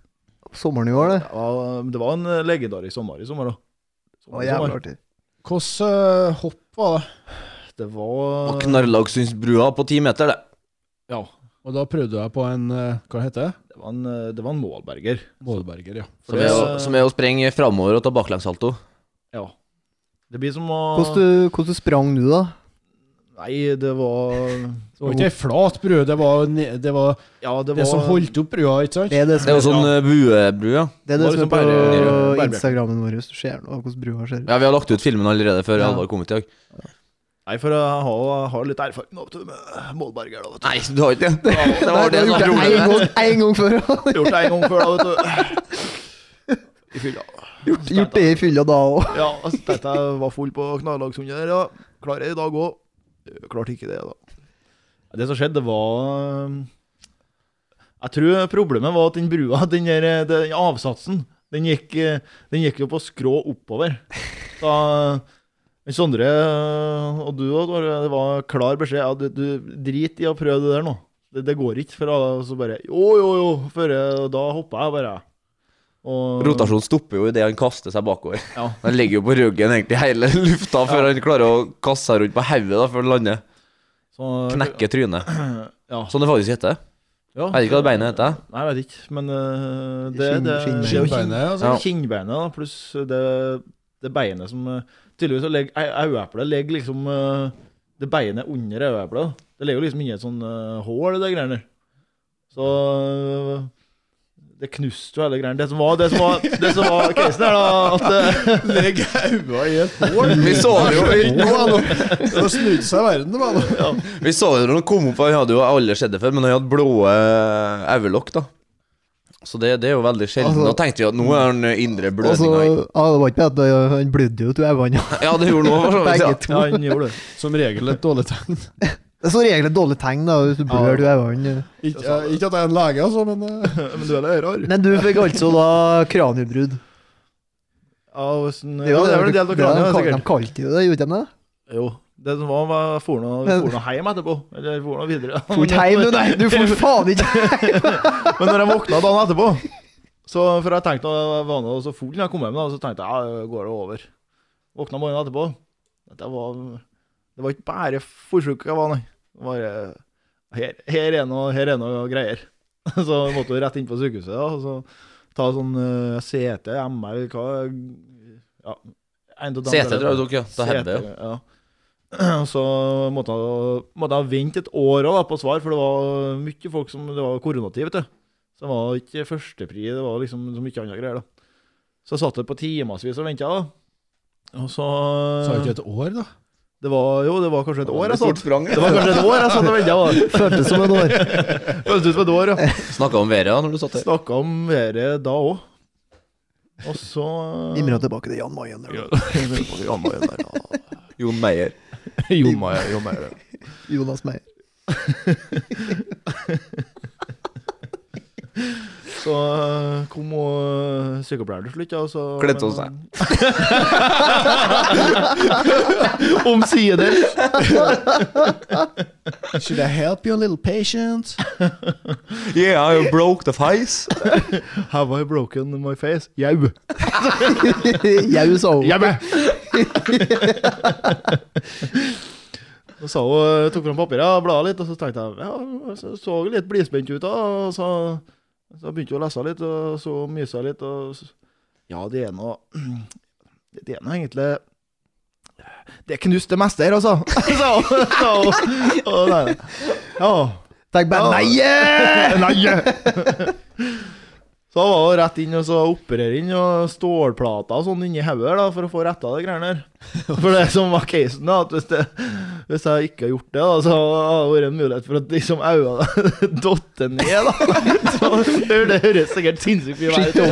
Speaker 4: Sommeren i år, det.
Speaker 3: Det var- Det var en eh, legendarisk sommer i sommer, da.
Speaker 4: Det var jævlig artig.
Speaker 6: Hvordan eh, hopp var det?
Speaker 3: Det var
Speaker 2: Og Knarrlagsynsbrua på ti meter, det.
Speaker 3: Ja.
Speaker 6: Og da prøvde jeg på en eh, Hva heter det?
Speaker 3: Det var en, eh, det var en målberger.
Speaker 6: Målberger, ja.
Speaker 2: Som er, å- som er å sprenge framover og ta baklengssalto.
Speaker 3: Ja. Det blir som å
Speaker 4: Hvordan du, hvordan du sprang du, da?
Speaker 3: Nei, det var
Speaker 6: Det var ikke ei flat bru, det var, ne- det var det,
Speaker 3: Ja, det var
Speaker 6: som holdt opp brua, ikke sant?
Speaker 4: Det er det
Speaker 2: Det
Speaker 4: som
Speaker 2: er
Speaker 4: er,
Speaker 2: jo sånn eh, buebru, ja.
Speaker 4: det er, det
Speaker 3: var
Speaker 4: som er
Speaker 3: liksom bare-
Speaker 4: på
Speaker 3: bare-
Speaker 4: Instagrammen vår, hvis du ser nå hvordan brua ser ut.
Speaker 2: Ja, Vi har lagt ut filmen allerede før
Speaker 4: Ja.
Speaker 2: Halvard kom ut i dag.
Speaker 3: Nei, for jeg har, har litt erfaring nå, vet du, med målberger. da, vet du.
Speaker 2: Nei, du har ikke det? Det var det
Speaker 4: Nei,
Speaker 2: som
Speaker 4: jeg
Speaker 2: var
Speaker 4: har gjort
Speaker 2: problemet.
Speaker 4: det én gang, en gang
Speaker 3: (laughs)
Speaker 4: før.
Speaker 3: Gjort det en gang før, da,
Speaker 4: (laughs)
Speaker 3: vet du. I fylla.
Speaker 4: gjort, gjort det i fylla da òg.
Speaker 3: Ja, altså, tenkte jeg var full på knallhagshunden her, ja. Klarer jeg i dag òg. Klarte ikke det, da. Det som skjedde, var um, Jeg tror problemet var at den brua, den der eh, den avsatsen, den gikk, eh, den gikk jo på skrå oppover. Da men Sondre eh, og du òg, det var klar beskjed. Ja, du, du Drit i å prøve det der nå. Det, det går ikke. For da så bare Jo, jo, jo. Før jeg, da hoppa jeg bare. Og,
Speaker 2: Rotasjonen stopper jo idet han kaster seg bakover.
Speaker 3: Ja.
Speaker 2: (laughs) Han ligger jo på ryggen egentlig hele lufta før han klarer å kaste seg rundt på hodet da, før han lander.
Speaker 3: så-
Speaker 2: Knekker trynet.
Speaker 3: Ja.
Speaker 2: Sånn det faktisk heter.
Speaker 3: Ja,
Speaker 2: Jeg vet ikke hva det beinet heter.
Speaker 3: Nei, jeg vet ikke, men eh, det,
Speaker 4: Kinn-
Speaker 3: det,
Speaker 4: kinnbeinet.
Speaker 3: det er jo kinn-
Speaker 6: Skinnbeinet, altså.
Speaker 2: Ja.
Speaker 3: kinnbeinet, da, pluss det, det beinet som eh, Tydeligvis så legger au- aueeplet legger liksom eh, det beinet under aueeplet. da. Det ligger jo liksom inni et sånn eh, hull, det greiene der. Så eh, det knuste jo hele greiene. Det som var, det som var, det som var casen her, da, at eh,
Speaker 6: Legg øynene i et hår.
Speaker 2: Vi så det jo
Speaker 6: Nå er (laughs) det- Nå snudde seg verden, det var det.
Speaker 2: Vi så det når han kom opp, han hadde jo aldri sett det før, men han hadde blå eh, øyelokk, da. Så det, det er jo veldig sjelden.
Speaker 4: Altså-
Speaker 2: da tenkte vi at nå er han indre
Speaker 4: Altså,
Speaker 2: blødninga
Speaker 4: ja, det var ikke det at han blødde jo ut av øynene.
Speaker 2: Ja, det gjorde han òg, for så vidt.
Speaker 4: Begge
Speaker 2: Ja.
Speaker 4: to.
Speaker 3: Ja, han gjorde det.
Speaker 6: Som regel et dårlig tegn.
Speaker 4: Det er som regel et dårlig tegn da, hvis du blør ut av øynene.
Speaker 6: Ikke, eh, ikke at jeg er en lege, altså, men eh,
Speaker 3: Men du er litt rar.
Speaker 4: Men du fikk altså da kraniebrudd.
Speaker 3: Ja, hvordan- ja, det er vel en del av kraniet,
Speaker 4: det
Speaker 3: sikkert.
Speaker 4: de kalte jo det, gjorde de det?
Speaker 3: Jo. Det som var, var for noe,
Speaker 4: Men-
Speaker 3: for noe hjem etterpå. Eller for noe videre.
Speaker 4: For ikke hjem, du, nei!
Speaker 3: (laughs)
Speaker 4: Du får faen ikke
Speaker 3: Men når jeg våkna dagen etterpå Så For jeg tenkte jeg var nå så full når jeg kom hjem, da, så tenkte jeg ja, går det over. Våkna morgenen etterpå. Det var, det var ikke bare forsøk jeg var, nei. Det var, eh, her, her, er noe, her er noe greier. (laughs) Så jeg måtte jo rett inn på sykehuset da, og så ta sånn eh, CT, MR, hva ja, en av de
Speaker 2: CT
Speaker 3: der-
Speaker 2: tror jeg du tok, ja. Da hender det jo.
Speaker 3: Seter, ja. Og (clears throat) Så måtte jeg, måtte jeg vente et år også, da, på svar, for det var mye folk som Det var koronatid, vet du. Så det var ikke førstepri, det var liksom så mye andre greier, da. Så jeg satt der på timevis og venta, da. Og så
Speaker 6: sa ikke et år, da.
Speaker 3: Det var jo, det var kanskje et år altså. jeg satt.
Speaker 2: sprang.
Speaker 3: Det var kanskje et år jeg satt og (laughs) venta.
Speaker 4: Føltes som et år.
Speaker 3: Føltes som et år, (laughs) ja.
Speaker 2: Snakka om været da når du satt der.
Speaker 3: Snakka om været da òg. Og så
Speaker 4: Imra tilbake til Jan Mayen. der, da.
Speaker 3: (laughs) Jon Maier der, (laughs) ja.
Speaker 2: Jon Meyer.
Speaker 3: Jon Maier, Jon Maier, ja.
Speaker 4: Jonas Meyer. (laughs)
Speaker 3: Så øh, kom og øh, sykepleieren til slutt, ja, og så
Speaker 2: Kledde hun seg.
Speaker 3: (laughs) Omsider.
Speaker 6: Should I help you, little patient?
Speaker 2: Yeah, I broke the face.
Speaker 3: Have I broken my face? Jau.
Speaker 4: Jeg sa jo
Speaker 3: Jau. Så sa hun, øh, tok fram papiret og bla litt, og så tenkte jeg ja, så, så litt blidspent ut. da, og Så, så begynte hun å lese litt, og så mysa litt. og så, Ja, det er nå (clears throat) Det er nå egentlig Det er knust det meste her, altså. (laughs) sa hun. sa hun. Og nei, Ja.
Speaker 4: Tenk bare nei! eh!
Speaker 3: Nei! (laughs) Så jeg var jo rett inn og så operere inn og stålplater og sånn inni hodet da, for å få retta de greiene der. For det som var casen, da, at hvis, det, hvis jeg ikke hadde gjort det, da, så hadde det vært en mulighet for at liksom (laughs) øynene datt ned. da. Så det, det høres sikkert sinnssykt mye verre ut.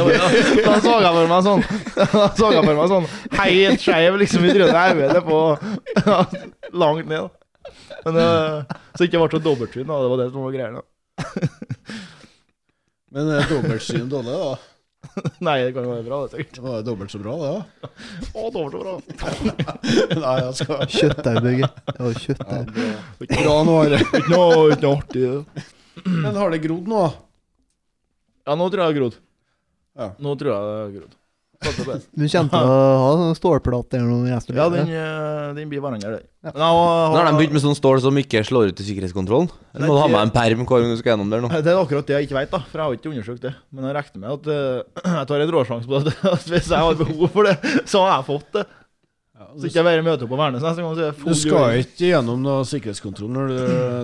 Speaker 3: Da så jeg for meg sånn Da så jeg for meg sånn helt skeiv liksom i trynet. Hodet på (laughs) ja, langt ned. da. Men, eh, så ikke ble det dobbeltsyn, da. Det var det som var greia. da.
Speaker 6: Men eh, dobbeltsyn dårlig, da.
Speaker 3: Nei, det kan jo være bra, det, sikkert.
Speaker 6: Det var jo dobbelt så bra, det òg.
Speaker 3: Å, det var så bra.
Speaker 6: Nei, jeg skal
Speaker 4: Kjøttdeig, Børge. Det var kjøttdeig.
Speaker 6: Bra nå, Are.
Speaker 3: Ikke noe, ikke noe artig, det.
Speaker 6: Men har det grodd nå?
Speaker 3: Ja, nå tror jeg det har grodd.
Speaker 6: Ja.
Speaker 3: Nå tror jeg det har grodd. Satser på det.
Speaker 4: Du kjente å ha sånn stålplate eller noe resten
Speaker 3: Ja,
Speaker 4: av
Speaker 3: den,
Speaker 4: livet.
Speaker 3: eh, den blir hverandre der.
Speaker 4: Ja.
Speaker 3: Nå
Speaker 2: Nå har de begynt med sånn stål som ikke slår ut i sikkerhetskontrollen. Eller må du ha med en perm hver gang du skal gjennom der nå?
Speaker 3: Det er akkurat det jeg ikke vet, da, for jeg har ikke undersøkt det. Men jeg regner med at eh, (clears throat) jeg tar en råsjanse på det. (laughs) At hvis jeg har behov for det, så har jeg fått det. Så ikke jeg bare møter opp på Værnes neste gang. Så er jeg
Speaker 6: Du
Speaker 3: full
Speaker 6: skal ikke gjennom noe sikkerhetskontroll når du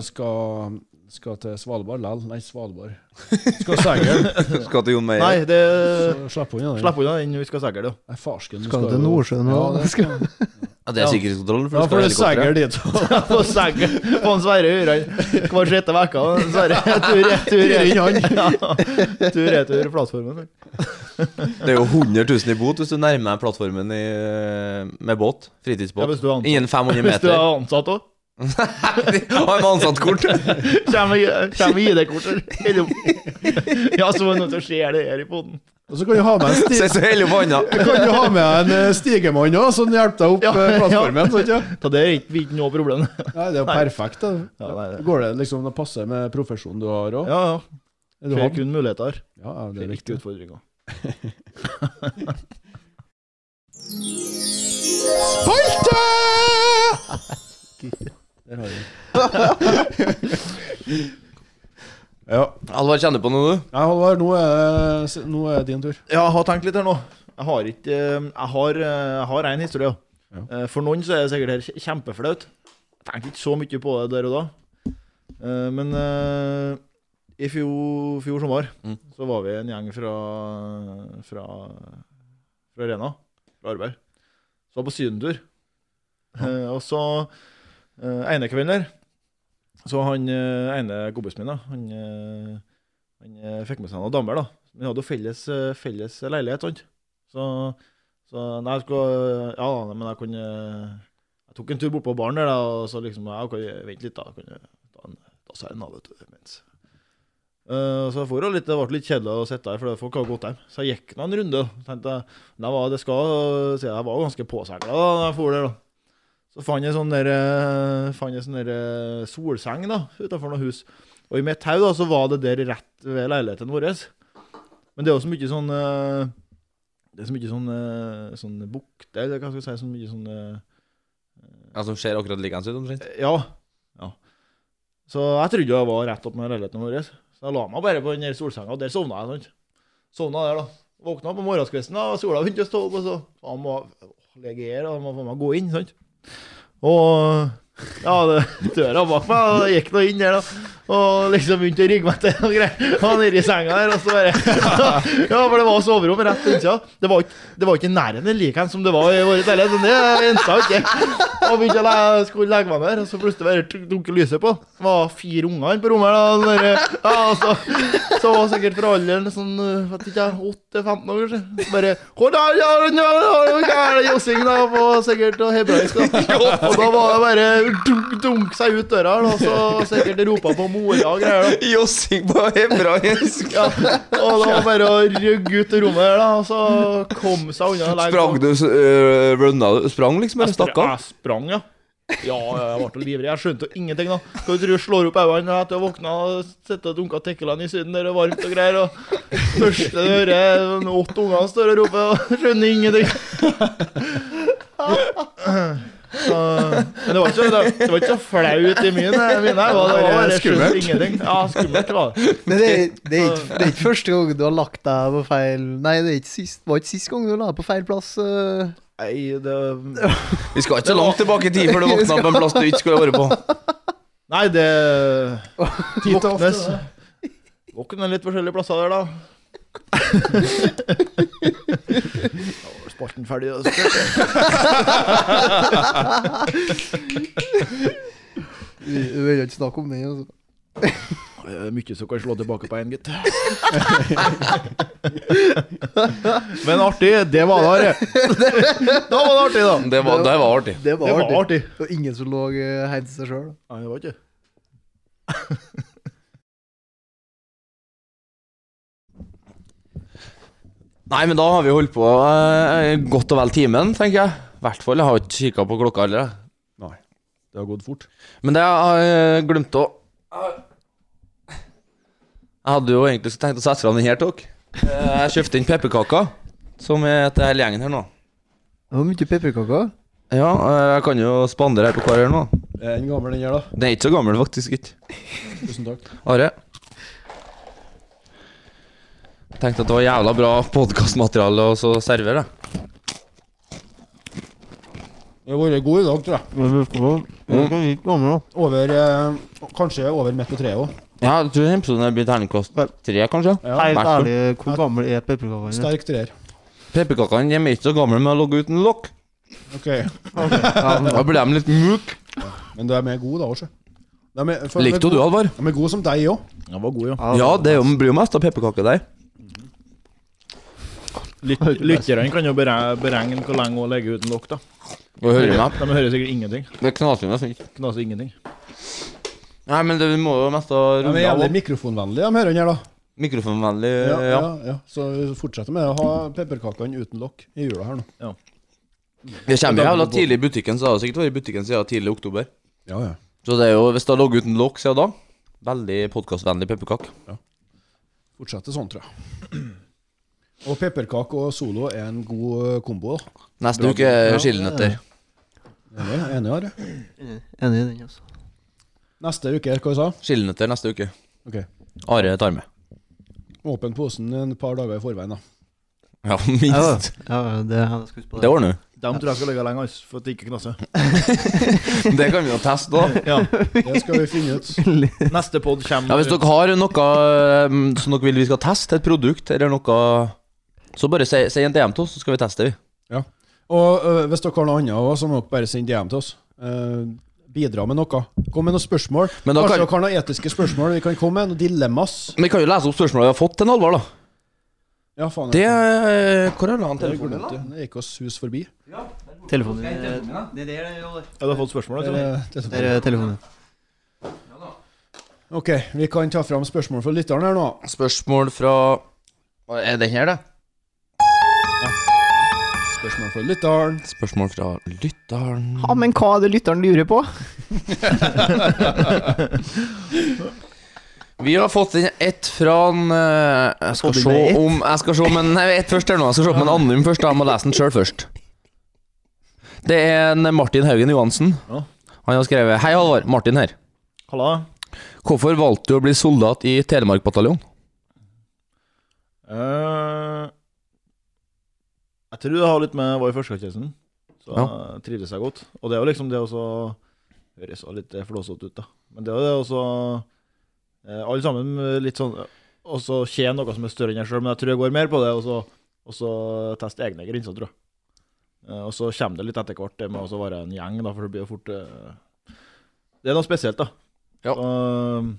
Speaker 6: skal, skal til Svalbard lell. Nei, Svalbard. Du skal Segel.
Speaker 2: Skal til Jon Meier.
Speaker 3: Nei, det
Speaker 6: så Slipp unna den.
Speaker 3: Slipp unna den vi skal sikkert, ja.
Speaker 6: Nei, farsken. du
Speaker 4: Skal du
Speaker 6: jo-
Speaker 4: til Nordsjøen
Speaker 6: Ja,
Speaker 4: og
Speaker 6: det
Speaker 4: (laughs)
Speaker 6: skal
Speaker 2: Ja, det er sikkerhetskontrollen.
Speaker 6: Ja, for
Speaker 2: du
Speaker 6: det er
Speaker 2: skal ha
Speaker 6: Segel
Speaker 2: helikopter.
Speaker 6: dit òg.
Speaker 3: På Segel. På en Sverre Uran hver sjette uke. Sverre tur, tur, tur, tur, retur plattformen.
Speaker 2: Det er jo 100 000 i bot hvis du nærmer deg plattformen i, eh, med båt.
Speaker 3: Ja,
Speaker 2: Fritidsbåt.
Speaker 3: hvis du er ansatt.
Speaker 2: Innen 500
Speaker 3: Hvis du er
Speaker 2: meter.
Speaker 3: ansatt òg.
Speaker 2: (laughs) Har med ansattkort! (laughs)
Speaker 3: Kommer ID-kortet Ja, så var det noe som skjer det her i poden.
Speaker 6: (laughs) Og så kan du ha med en
Speaker 2: (laughs)
Speaker 6: sti
Speaker 2: Sitter og heller på handa.
Speaker 6: kan du ha med en eh, stigemann òg, som hjelper deg opp
Speaker 3: Ja,
Speaker 6: eh, plattformen. sant, ja?
Speaker 3: (laughs) Så det er ikke, ikke noe problem.
Speaker 6: Nei, det er jo perfekt. det.
Speaker 3: Ja, nei, det.
Speaker 6: Går det liksom det passer med profesjonen du har òg?
Speaker 3: Ja, ja.
Speaker 6: Er du
Speaker 3: Ser
Speaker 6: han?
Speaker 3: kun muligheter.
Speaker 6: Ja, ja, det
Speaker 3: Det
Speaker 6: er
Speaker 3: er
Speaker 6: viktig.
Speaker 3: ikke utfordringer.
Speaker 6: Der har jeg.
Speaker 2: Alvar, kjenner du på noe, du?
Speaker 6: Nei, Halvard, nå er, det- nå er det din tur.
Speaker 3: Ja, jeg har tenkt litt her nå. Jeg har ikke eh, Jeg har, eh, jeg har en historie, ja. Eh, For noen så er det sikkert her kje- kjempeflaut. Jeg tenkte ikke så mye på det der og da. Eh, Men eh, i fjor, fjor sommer
Speaker 2: Mm.
Speaker 3: så var vi en gjeng fra Fra, fra Rena, fra arbeid. Så var på sydentur. Eh, Og så eh, ene kvelden der Så han eh, ene kompisen min, da, han, eh, han eh, fikk med seg noen damer, da. Vi hadde jo felles, eh, felles leilighet, sant. Så, så nei, jeg skulle Ja da, men jeg kunne Jeg tok en tur bort på baren der, da, og så liksom ja, ok, Vent litt, da. Kan jeg ta en ta seg en, da, vet du. Mens. Eh, så jeg får jo litt, det ble litt kjedelig å sitte her, for folk har gått hjem. Så jeg gikk nå en runde. og tenkte jeg, men jeg var, det skal, så jeg var ganske påsegla da da jeg for der. da. Så fant jeg sånn der, eh, fant jeg sånn der eh, solseng da, utenfor noe hus. Og i mitt tau da, så var det der rett ved leiligheten vår. Men det er jo så mye sånn eh, Det er så mye sånn, eh, sånn bukte, eller hva skal jeg si, så mye sånn eh,
Speaker 2: Ja, som ser akkurat likens ut, omtrent.
Speaker 3: ja. ja. Så jeg trodde jo jeg var rett opp med leiligheten vår. Så jeg la meg bare på den der solsenga, og der sovna jeg. sant? Sovna der, da. Våkna på morgenskvisten, da, og sola begynte å stå opp, og så faen må jeg ligge her, og jeg må faen meg gå inn, sant? Og ja, det, døra bak meg, og jeg gikk nå inn der, da. Og liksom begynte å rigge meg til og greier. Og nedi senga der, og så bare Ja, for det var soverom rett innsida. Det var ikke, det var ikke i nærheten likeens som det var i vår leilighet. så Det rensa ikke. Og begynte å le, skulle legge meg der, og så plutselig bare tuk- dunker lyset på. Det var fire unger på rommet. Da, og der, ja, og så, så var sikkert fra alderen sånn eh, vet ikke, 8-15 år, kanskje. Bare «Hvordan er det, hvordan er det, hvordan er det?» Jossing da, på sikkert og hebraisk. Da. Og da var det bare dunk, dunk seg ut døra, da, og så sikkert ropa på mora og greier. da.
Speaker 2: Jossing på
Speaker 3: (laughs)
Speaker 2: hebraisk!
Speaker 3: Ja, og det var bare å rygge ut av rommet der, da, og så kom seg unna. og legge
Speaker 2: Sprang
Speaker 3: på.
Speaker 2: du øh, runna du? Sprang liksom, eller stakk av?
Speaker 3: Jeg sprang, ja. Ja, ja, jeg ble livredd. Jeg skjønte jo ingenting, da. Skal du tro jeg slår opp øynene etter å våkne og sitte og dunke Tequilaen i Syden der det er varmt og greier, og første du hører er sånn åtte unger står og roper, og skjønner ingenting. Så, men det var, ikke, det, det var ikke så flaut i mine. mine det var det var bare skummelt. Ingenting. Ja, skummelt var det.
Speaker 4: Men det, er- det, er ikke, det er ikke første gang du har lagt deg på feil Nei, det er ikke sist, var ikke sist gang du la deg på feil plass. øh.
Speaker 3: Nei, det
Speaker 2: Vi skal ikke så langt tilbake i tid før du våkna på en plass du ikke skulle vært på.
Speaker 3: Nei, (laughs) det våknes Våkner litt forskjellige plasser der, da. Spalten ferdig. altså.
Speaker 4: Vi vi vil ikke snakke om den, altså.
Speaker 3: Det er mye som kan slå tilbake på én, gitt. Men artig. Det var da, det. Da var det artig, da.
Speaker 2: Det var, det var artig.
Speaker 4: Det var
Speaker 3: Det var
Speaker 4: artig.
Speaker 3: artig.
Speaker 4: Det var ingen som lå eh, heid til seg sjøl.
Speaker 3: Nei, det var ikke
Speaker 2: Nei, men da har vi holdt på eh, godt og vel timen, tenker jeg. I hvert fall. Jeg har ikke kikka på klokka heller. jeg.
Speaker 1: Det har gått fort.
Speaker 2: Men det jeg har jeg glemt å Jeg hadde jo egentlig så tenkt å sette fram den her til dere. Eh, Jeg kjøpte inn pepperkaker, som er til hele gjengen her nå.
Speaker 4: Det var mye pepperkaker.
Speaker 2: Ja, eh, jeg kan jo spandere her på hver her nå.
Speaker 1: Er Eh, den gammel, den her, da?
Speaker 2: Den er ikke så gammel, faktisk. ikke
Speaker 1: Tusen takk.
Speaker 2: Are. Jeg tenkte at det var jævla bra podkastmateriale å så servere. jeg.
Speaker 1: Den har vært god i dag, tror jeg.
Speaker 4: Mm.
Speaker 1: Over, eh, kanskje over midt på treet òg.
Speaker 2: Ja, jeg tror den episoden her blir terningkast tre, kanskje.
Speaker 8: Helt
Speaker 2: Vær så god.
Speaker 8: ærlig, hvor gammel er pepperkakene?
Speaker 1: Sterk treer.
Speaker 2: Pepperkakene de er ikke så gamle med å logge uten lokk.
Speaker 1: Ok.
Speaker 2: Da blir de litt myke.
Speaker 1: Men de er gode, da òg, sjø. De er- for-
Speaker 2: Likte du, Alvar?
Speaker 1: De er gode som deg òg.
Speaker 3: Den var god, ja.
Speaker 2: Ja, det er jo- blir jo mest av pepperkaker der.
Speaker 3: Lyt- Lytterne kan jo bere- beregne hvor lenge hun ligger uten lokk, da.
Speaker 2: Og hører meg.
Speaker 3: De hører sikkert ingenting.
Speaker 2: Det knaser jo nesten ikke.
Speaker 3: Knaser ingenting.
Speaker 2: Nei, men det må jo mest av
Speaker 1: De er jævlig
Speaker 2: rulle av.
Speaker 1: mikrofonvennlige, de hørene her, da.
Speaker 2: Mikrofonvennlig,
Speaker 1: Eh, Ja,
Speaker 2: ja.
Speaker 1: ja, ja. Så fortsetter med å ha pepperkakene uten lokk i jula her nå.
Speaker 2: Det kommer jo jævla tidlig i butikken, så det har sikkert vært i butikken siden tidlig i oktober.
Speaker 1: Ja, ja.
Speaker 2: Så det er jo, hvis det har ligget uten lokk siden da, veldig podkastvennlig pepperkake.
Speaker 1: Fortsetter sånn, tror jeg. Og pepperkake og solo er en god eh, kombo. da.
Speaker 2: Neste uke er skillenøtter.
Speaker 1: Enig, enig Are?
Speaker 4: Enig i den, altså.
Speaker 1: Neste uke, hva jeg sa
Speaker 2: Skillenøtter neste uke.
Speaker 1: Ok.
Speaker 2: Are tar med.
Speaker 1: Åpen posen en par dager i forveien, da.
Speaker 2: Ja,
Speaker 4: Ja,
Speaker 2: minst.
Speaker 4: ja, det er jeg skulle på.
Speaker 2: Det ordner du.
Speaker 3: De tror jeg skal ligge lenge, altså, for at det ikke knaser.
Speaker 2: (laughs) Det kan vi jo teste, (laughs) da.
Speaker 3: Ja.
Speaker 1: Det skal vi finne ut.
Speaker 3: Neste pod kommer
Speaker 2: Ja, Hvis dere har noe um, som dere vil vi skal teste, et produkt eller noe, så bare si, si en DM til oss, så skal vi teste det. vi.
Speaker 1: Og øh, hvis dere har noe annet også, så må dere bare sende DM til oss. Eh, bidra med noe. Kom med noen spørsmål.
Speaker 2: Men da
Speaker 1: Kanskje
Speaker 2: kan-
Speaker 1: dere har noen etiske spørsmål. Vi kan komme med noen dilemmas.
Speaker 2: Men vi kan jo lese opp spørsmålet vi har fått til en Alvar, da.
Speaker 1: Ja, faen.
Speaker 2: Det
Speaker 1: jeg-
Speaker 2: er, eh, Hvor er han
Speaker 1: jeg
Speaker 2: telefonen,
Speaker 1: glemte
Speaker 2: da?
Speaker 1: det. Det gikk oss hus forbi.
Speaker 4: Telefonen din.
Speaker 8: Det der er jo
Speaker 3: Ja, du har fått spørsmål, altså.
Speaker 1: Eh, det-
Speaker 4: Der er telefonen.
Speaker 1: Ok, vi kan ta fram spørsmål fra lytteren her nå.
Speaker 2: Spørsmål fra Hva Er den her, det?
Speaker 1: Spørsmål fra lytteren.
Speaker 2: Spørsmål fra lytteren
Speaker 8: Ja, men hva er det lytteren lurer på?
Speaker 2: (laughs) Vi har fått inn ett fra en eh, Jeg skal
Speaker 8: Fått inn
Speaker 2: se
Speaker 8: ett?
Speaker 2: om Jeg skal se om en Nei, ett først her nå. Jeg skal se om en anonym først. da. Jeg må lese den sjøl først. Det er en Martin Haugen Johansen.
Speaker 3: Ja.
Speaker 2: Han har skrevet Hei, Halvor. Martin her.
Speaker 3: Halla.
Speaker 2: Hvorfor valgte du å bli soldat i Telemarkbataljonen?
Speaker 3: Eh, jeg tror det har litt med hva i førsteklassetjenesten. Så
Speaker 2: Ja.
Speaker 3: jeg trivdes jeg godt. Og det er jo liksom det også Høres jo litt eh, flåsete ut, da. Men det er jo det også eh, Alle sammen litt sånn Også tjene noe som er større enn jeg sjøl, men jeg tror jeg går mer på det. Og så, og så teste egne grenser, tror jeg. Eh, og så kommer det litt etter hvert, det med også å være en gjeng, da, for det blir jo fort eh, Det er noe spesielt, da.
Speaker 2: Ja.
Speaker 3: Så, eh,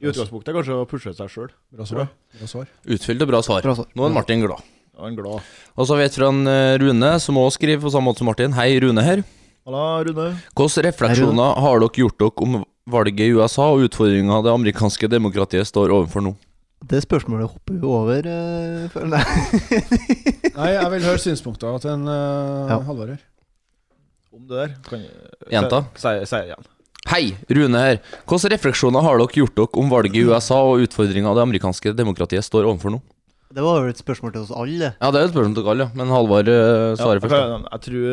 Speaker 3: I utgangspunktet er kanskje å pushe seg sjøl.
Speaker 1: Bra svar. Bra svar.
Speaker 2: Utfylt og bra svar.
Speaker 4: Bra svar.
Speaker 2: Nå er Martin glad.
Speaker 3: Ja, en glad
Speaker 2: Og så vet vi fra en eh, Rune, som òg skriver på samme måte som Martin. Hei, Rune her.
Speaker 3: Halla, Rune.
Speaker 2: Hvilke refleksjoner har dere gjort dere om valget i USA og utfordringa det amerikanske demokratiet står overfor nå?
Speaker 4: Det spørsmålet hopper vi over, eh, føler jeg.
Speaker 1: Nei, jeg vil høre synspunkter til en uh,
Speaker 4: Ja.
Speaker 1: Halvor her.
Speaker 3: Om det der kan jeg
Speaker 2: Jenta?
Speaker 3: Si si det igjen.
Speaker 2: Hei, Rune her. Hvilke refleksjoner har dere gjort dere om valget i USA og utfordringa det amerikanske demokratiet står overfor nå?
Speaker 4: Det var jo et spørsmål til oss alle.
Speaker 2: Ja, det er et spørsmål til Karl, ja. Men Halvard eh,
Speaker 3: Ja,
Speaker 2: svarer
Speaker 3: jeg,
Speaker 2: først. da.
Speaker 3: kan- jeg tror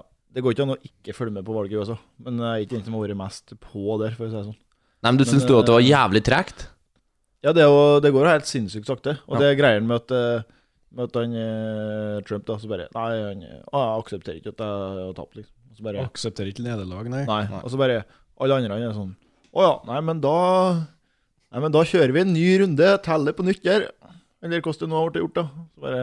Speaker 3: ja, Det går ikke an å ikke følge med på valget i USA, men jeg er ikke den som har vært mest på der, for å si det sånn.
Speaker 2: Nei, men du
Speaker 3: Men,
Speaker 2: syns du at det var
Speaker 3: eh,
Speaker 2: jævlig tregt?
Speaker 3: Ja, det, er jo, det går jo helt sinnssykt sakte, og
Speaker 2: Ja.
Speaker 3: det er greia med at eh, med at han eh, Trump da, så bare Nei, han, eh, ah, jeg aksepterer ikke at jeg har tapt, liksom. Og så bare,
Speaker 1: Aksepterer ikke nederlag, nei.
Speaker 3: nei. Og så bare Alle andre er sånn Å ja, nei, men da Nei, men da kjører vi en ny runde, teller på nytt her. Eller hvordan det nå ble gjort, da. Så bare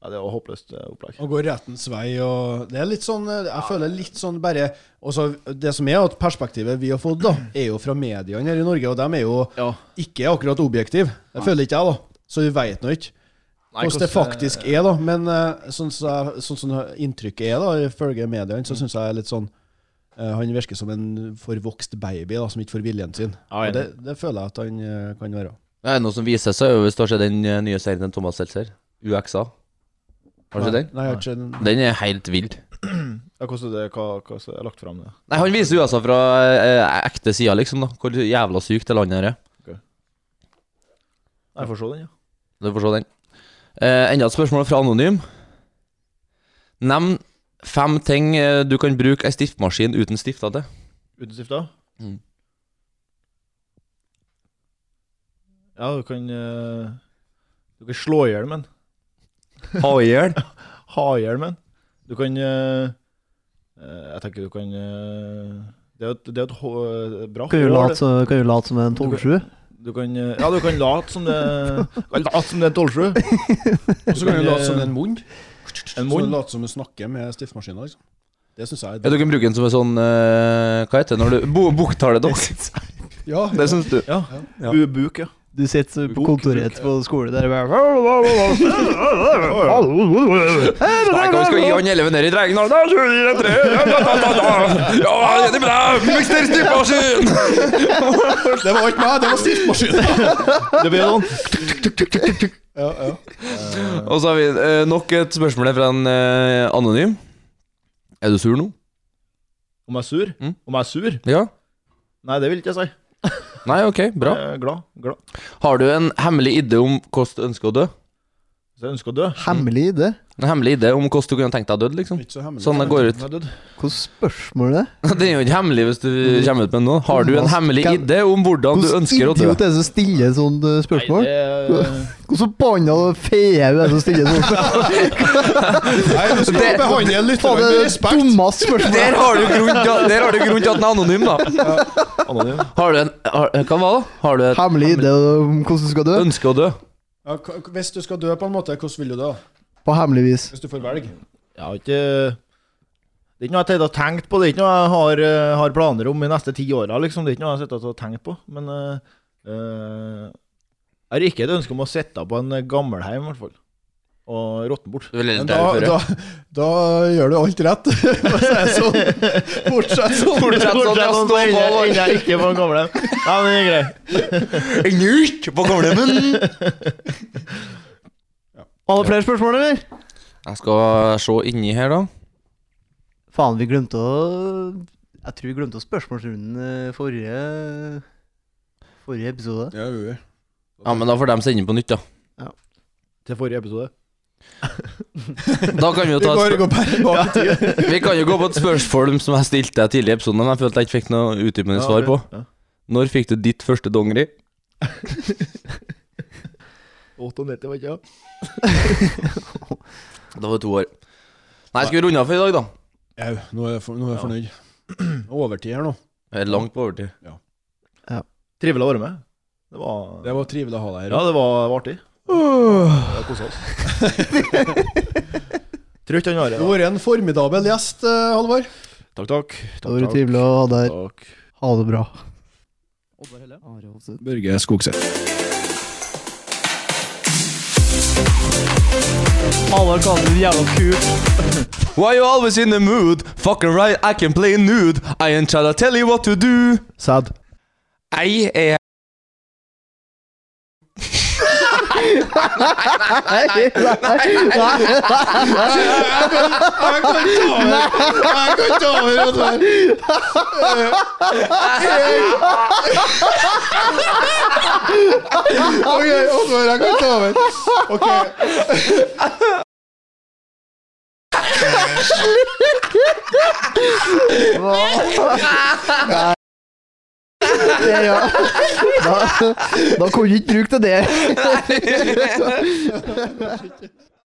Speaker 3: Nei, det var håpløst eh, opplegg.
Speaker 1: Og går rettens vei og Det er litt sånn eh, Jeg føler litt sånn bare også Det som er at perspektivet vi har fått, da, er jo fra mediene her i Norge, og de er jo
Speaker 3: Ja.
Speaker 1: ikke akkurat objektive. Det føler ikke jeg, da. Så vi veit nå ikke hvordan det faktisk er, da. Men eh, sånn som jeg- sånn som inntrykket er, da, ifølge mediene, så syns jeg er litt sånn eh, Han virker som en forvokst baby da, som ikke får viljen sin.
Speaker 3: Ja, jeg
Speaker 1: Og
Speaker 3: er
Speaker 1: det, det føler jeg at han eh, kan være.
Speaker 2: Det er noe som viser seg, jo hvis du har sett den eh, nye serien til Thomas Seltzer, UXA. Har du sett den?
Speaker 1: Nei, jeg har ikke den.
Speaker 2: Den er helt vill.
Speaker 3: Ja, hvordan det, hva, hva som er lagt fram? det?
Speaker 2: Nei, han viser USA fra eh, ekte sida, liksom, da. Hvor jævla sykt det landet her er.
Speaker 3: Nei, Jeg får se den, ja.
Speaker 2: Du får se den. Eh, enda et spørsmål fra Anonym. Nevn fem ting eh, du kan bruke ei stiftmaskin uten stifter til.
Speaker 3: Uten stifta?
Speaker 2: Mm.
Speaker 3: Ja, du kan eh, Du kan slå i hjel med den.
Speaker 2: (laughs) Ha i hjel.
Speaker 3: (laughs) Ha i hjel med den. Du kan eh, eh, Jeg tenker du kan eh, Det er jo et, det er jo et hå- eh, bra
Speaker 4: Kan du
Speaker 3: hår,
Speaker 4: late
Speaker 3: det.
Speaker 4: som, kan du late som en 12-7?
Speaker 3: Du kan, eh, ja, du kan late som det du kan Late som det er en 12-7.
Speaker 1: Og så kan du late som en munn.
Speaker 3: En
Speaker 1: eh, Så
Speaker 3: munn.
Speaker 1: late som du snakker med stiftmaskina, liksom. Det syns jeg er
Speaker 2: Ja, du kan bruke den som en sånn eh, Hva heter det når du bo Boktaledokk. (laughs)
Speaker 1: Ja,
Speaker 2: Det syns du.
Speaker 3: Ja.
Speaker 2: (laughs) Ja.
Speaker 3: Bu- Buk, ja.
Speaker 4: Du sitter på
Speaker 2: Bok,
Speaker 4: kontoret
Speaker 2: bok,
Speaker 4: etterpå på skole der og bare
Speaker 2: Nei, hva skal vi gi han eleven ned i dreigen da? Da kjører vi den tre. Ja, da, da, da, da. Ja, det er bra! Mister stiftmaskin!
Speaker 1: Det var ikke meg, det var (laughs) stiftmaskinen!
Speaker 3: Det blir sånn.
Speaker 1: Ja, ja.
Speaker 2: Og så har vi eh, nok et spørsmål her fra en eh, anonym. Er du sur nå?
Speaker 3: Om jeg er sur?
Speaker 2: Mm.
Speaker 3: Om jeg er sur?
Speaker 2: Ja?
Speaker 3: Nei, det vil ikke jeg si.
Speaker 2: Nei, ok, bra.
Speaker 3: Jeg er glad. glad.
Speaker 2: Har du en hemmelig idé om hvordan du ønsker å dø?
Speaker 3: Så jeg ønsker å dø.
Speaker 4: Hemmelig idé?
Speaker 2: En hemmelig idé om hvordan du kunne tenkt deg dødd, liksom?
Speaker 1: Ikke så hemmelig.
Speaker 2: Sånn det går ut.
Speaker 3: Jeg er død.
Speaker 4: Hvilket spørsmål er det?
Speaker 2: Det er jo ikke hemmelig hvis du kommer ut med noe. Har du en hemmelig idé om hvordan du ønsker å dø?
Speaker 4: idiot er det som stiller sånt eh, spørsmål?
Speaker 3: Nei,
Speaker 2: (laughs)
Speaker 3: det er-
Speaker 4: Hvordan forbanna fee er det som stiller sånt spørsmål?
Speaker 1: Nei, du skal
Speaker 2: Det-
Speaker 1: behandle lytterne
Speaker 4: Faen,
Speaker 1: med
Speaker 4: (laughs) det er det
Speaker 1: respekt.
Speaker 4: dummeste spørsmålet.
Speaker 2: Der har du grunn til, at- der har du grunn til at den er anonym, da.
Speaker 3: Anonym.
Speaker 2: Har du en har, Hva var det? Har du et
Speaker 4: Hemmelig idé om hvordan du skal dø?
Speaker 2: ønske å dø?
Speaker 1: Ja, k- k- hvis du skal dø på en måte, hvordan vil du da?
Speaker 4: På hemmelig vis.
Speaker 1: Hvis du får velge?
Speaker 3: Jeg har ikke Det er ikke noe jeg har tenkt på. Det er ikke noe jeg har, eh, har planer om de neste ti åra. Liksom. Det er ikke noe jeg har sittet og tenkt på. Men eh, eh, jeg har ikke et ønske om å sitte på en gammelheim, i hvert fall. Og råtne (laughs) bort.
Speaker 2: Du vil heller
Speaker 1: Men da,
Speaker 2: dø
Speaker 1: da,
Speaker 2: (laughs) før,
Speaker 1: da gjør du alt rett. (laughs) Hvis det er sånn. Fortsett sånn.
Speaker 2: Fortsett sånn, ja, stå på, da.
Speaker 3: (laughs) Ender jeg ikke på en gammelheim. Ja, men det er greit.
Speaker 2: ja. Njurt på gamlehjemmen!
Speaker 4: Var det flere spørsmål, eller?
Speaker 2: Jeg skal se inni her, da.
Speaker 4: Faen, vi glemte å Jeg tror vi glemte å spørsmålsrunden eh, forrige Forrige episode.
Speaker 1: Ja, jo, jo.
Speaker 2: Ja, men Da får de sende på nytt, da.
Speaker 3: Til forrige episode.
Speaker 2: Da kan vi jo
Speaker 1: Vi
Speaker 2: ta
Speaker 1: går,
Speaker 2: et spør-
Speaker 1: går bare bak i tid.
Speaker 2: Vi kan jo gå på et spørsmål som jeg stilte deg tidligere i episoden, men jeg følte jeg ikke fikk noe utdypende svar på.
Speaker 3: Ja.
Speaker 2: Når fikk du ditt første dongeri?
Speaker 3: 98, var ikke det?
Speaker 2: Da var det to år. Nei, skal vi runde av for i dag, da?
Speaker 1: Jau, nå er jeg, for, nå er jeg fornøyd. (clears throat) Overtid her nå.
Speaker 2: Det er langt på overtid.
Speaker 3: Trivelig å være med. Det var,
Speaker 1: Det var trivelig å ha deg her.
Speaker 3: ja, det var, det var artig. Vi kosa oss. Tror ikke han har
Speaker 1: Du
Speaker 3: det.
Speaker 1: har vært en formidabel gjest, eh, Halvor.
Speaker 3: Takk, takk.
Speaker 4: Det var trivelig å ha deg her.
Speaker 3: Takk.
Speaker 4: Ha det bra.
Speaker 1: Børge Skogseth.
Speaker 4: Alle kaller det jævla kult.
Speaker 2: Why you always in the mood? Fucking right, I can play nude. I ain't tryna tell you what to do.
Speaker 4: Sad.
Speaker 2: Jeg er
Speaker 4: Nei, nei, nei.
Speaker 1: Jeg kan ikke ta over! Jeg kan ikke ta over, Halvor. Eh, Ok, Halvor, jeg kan ta over. Ok.
Speaker 4: Det, ja. Da, da kan du ikke bruke det.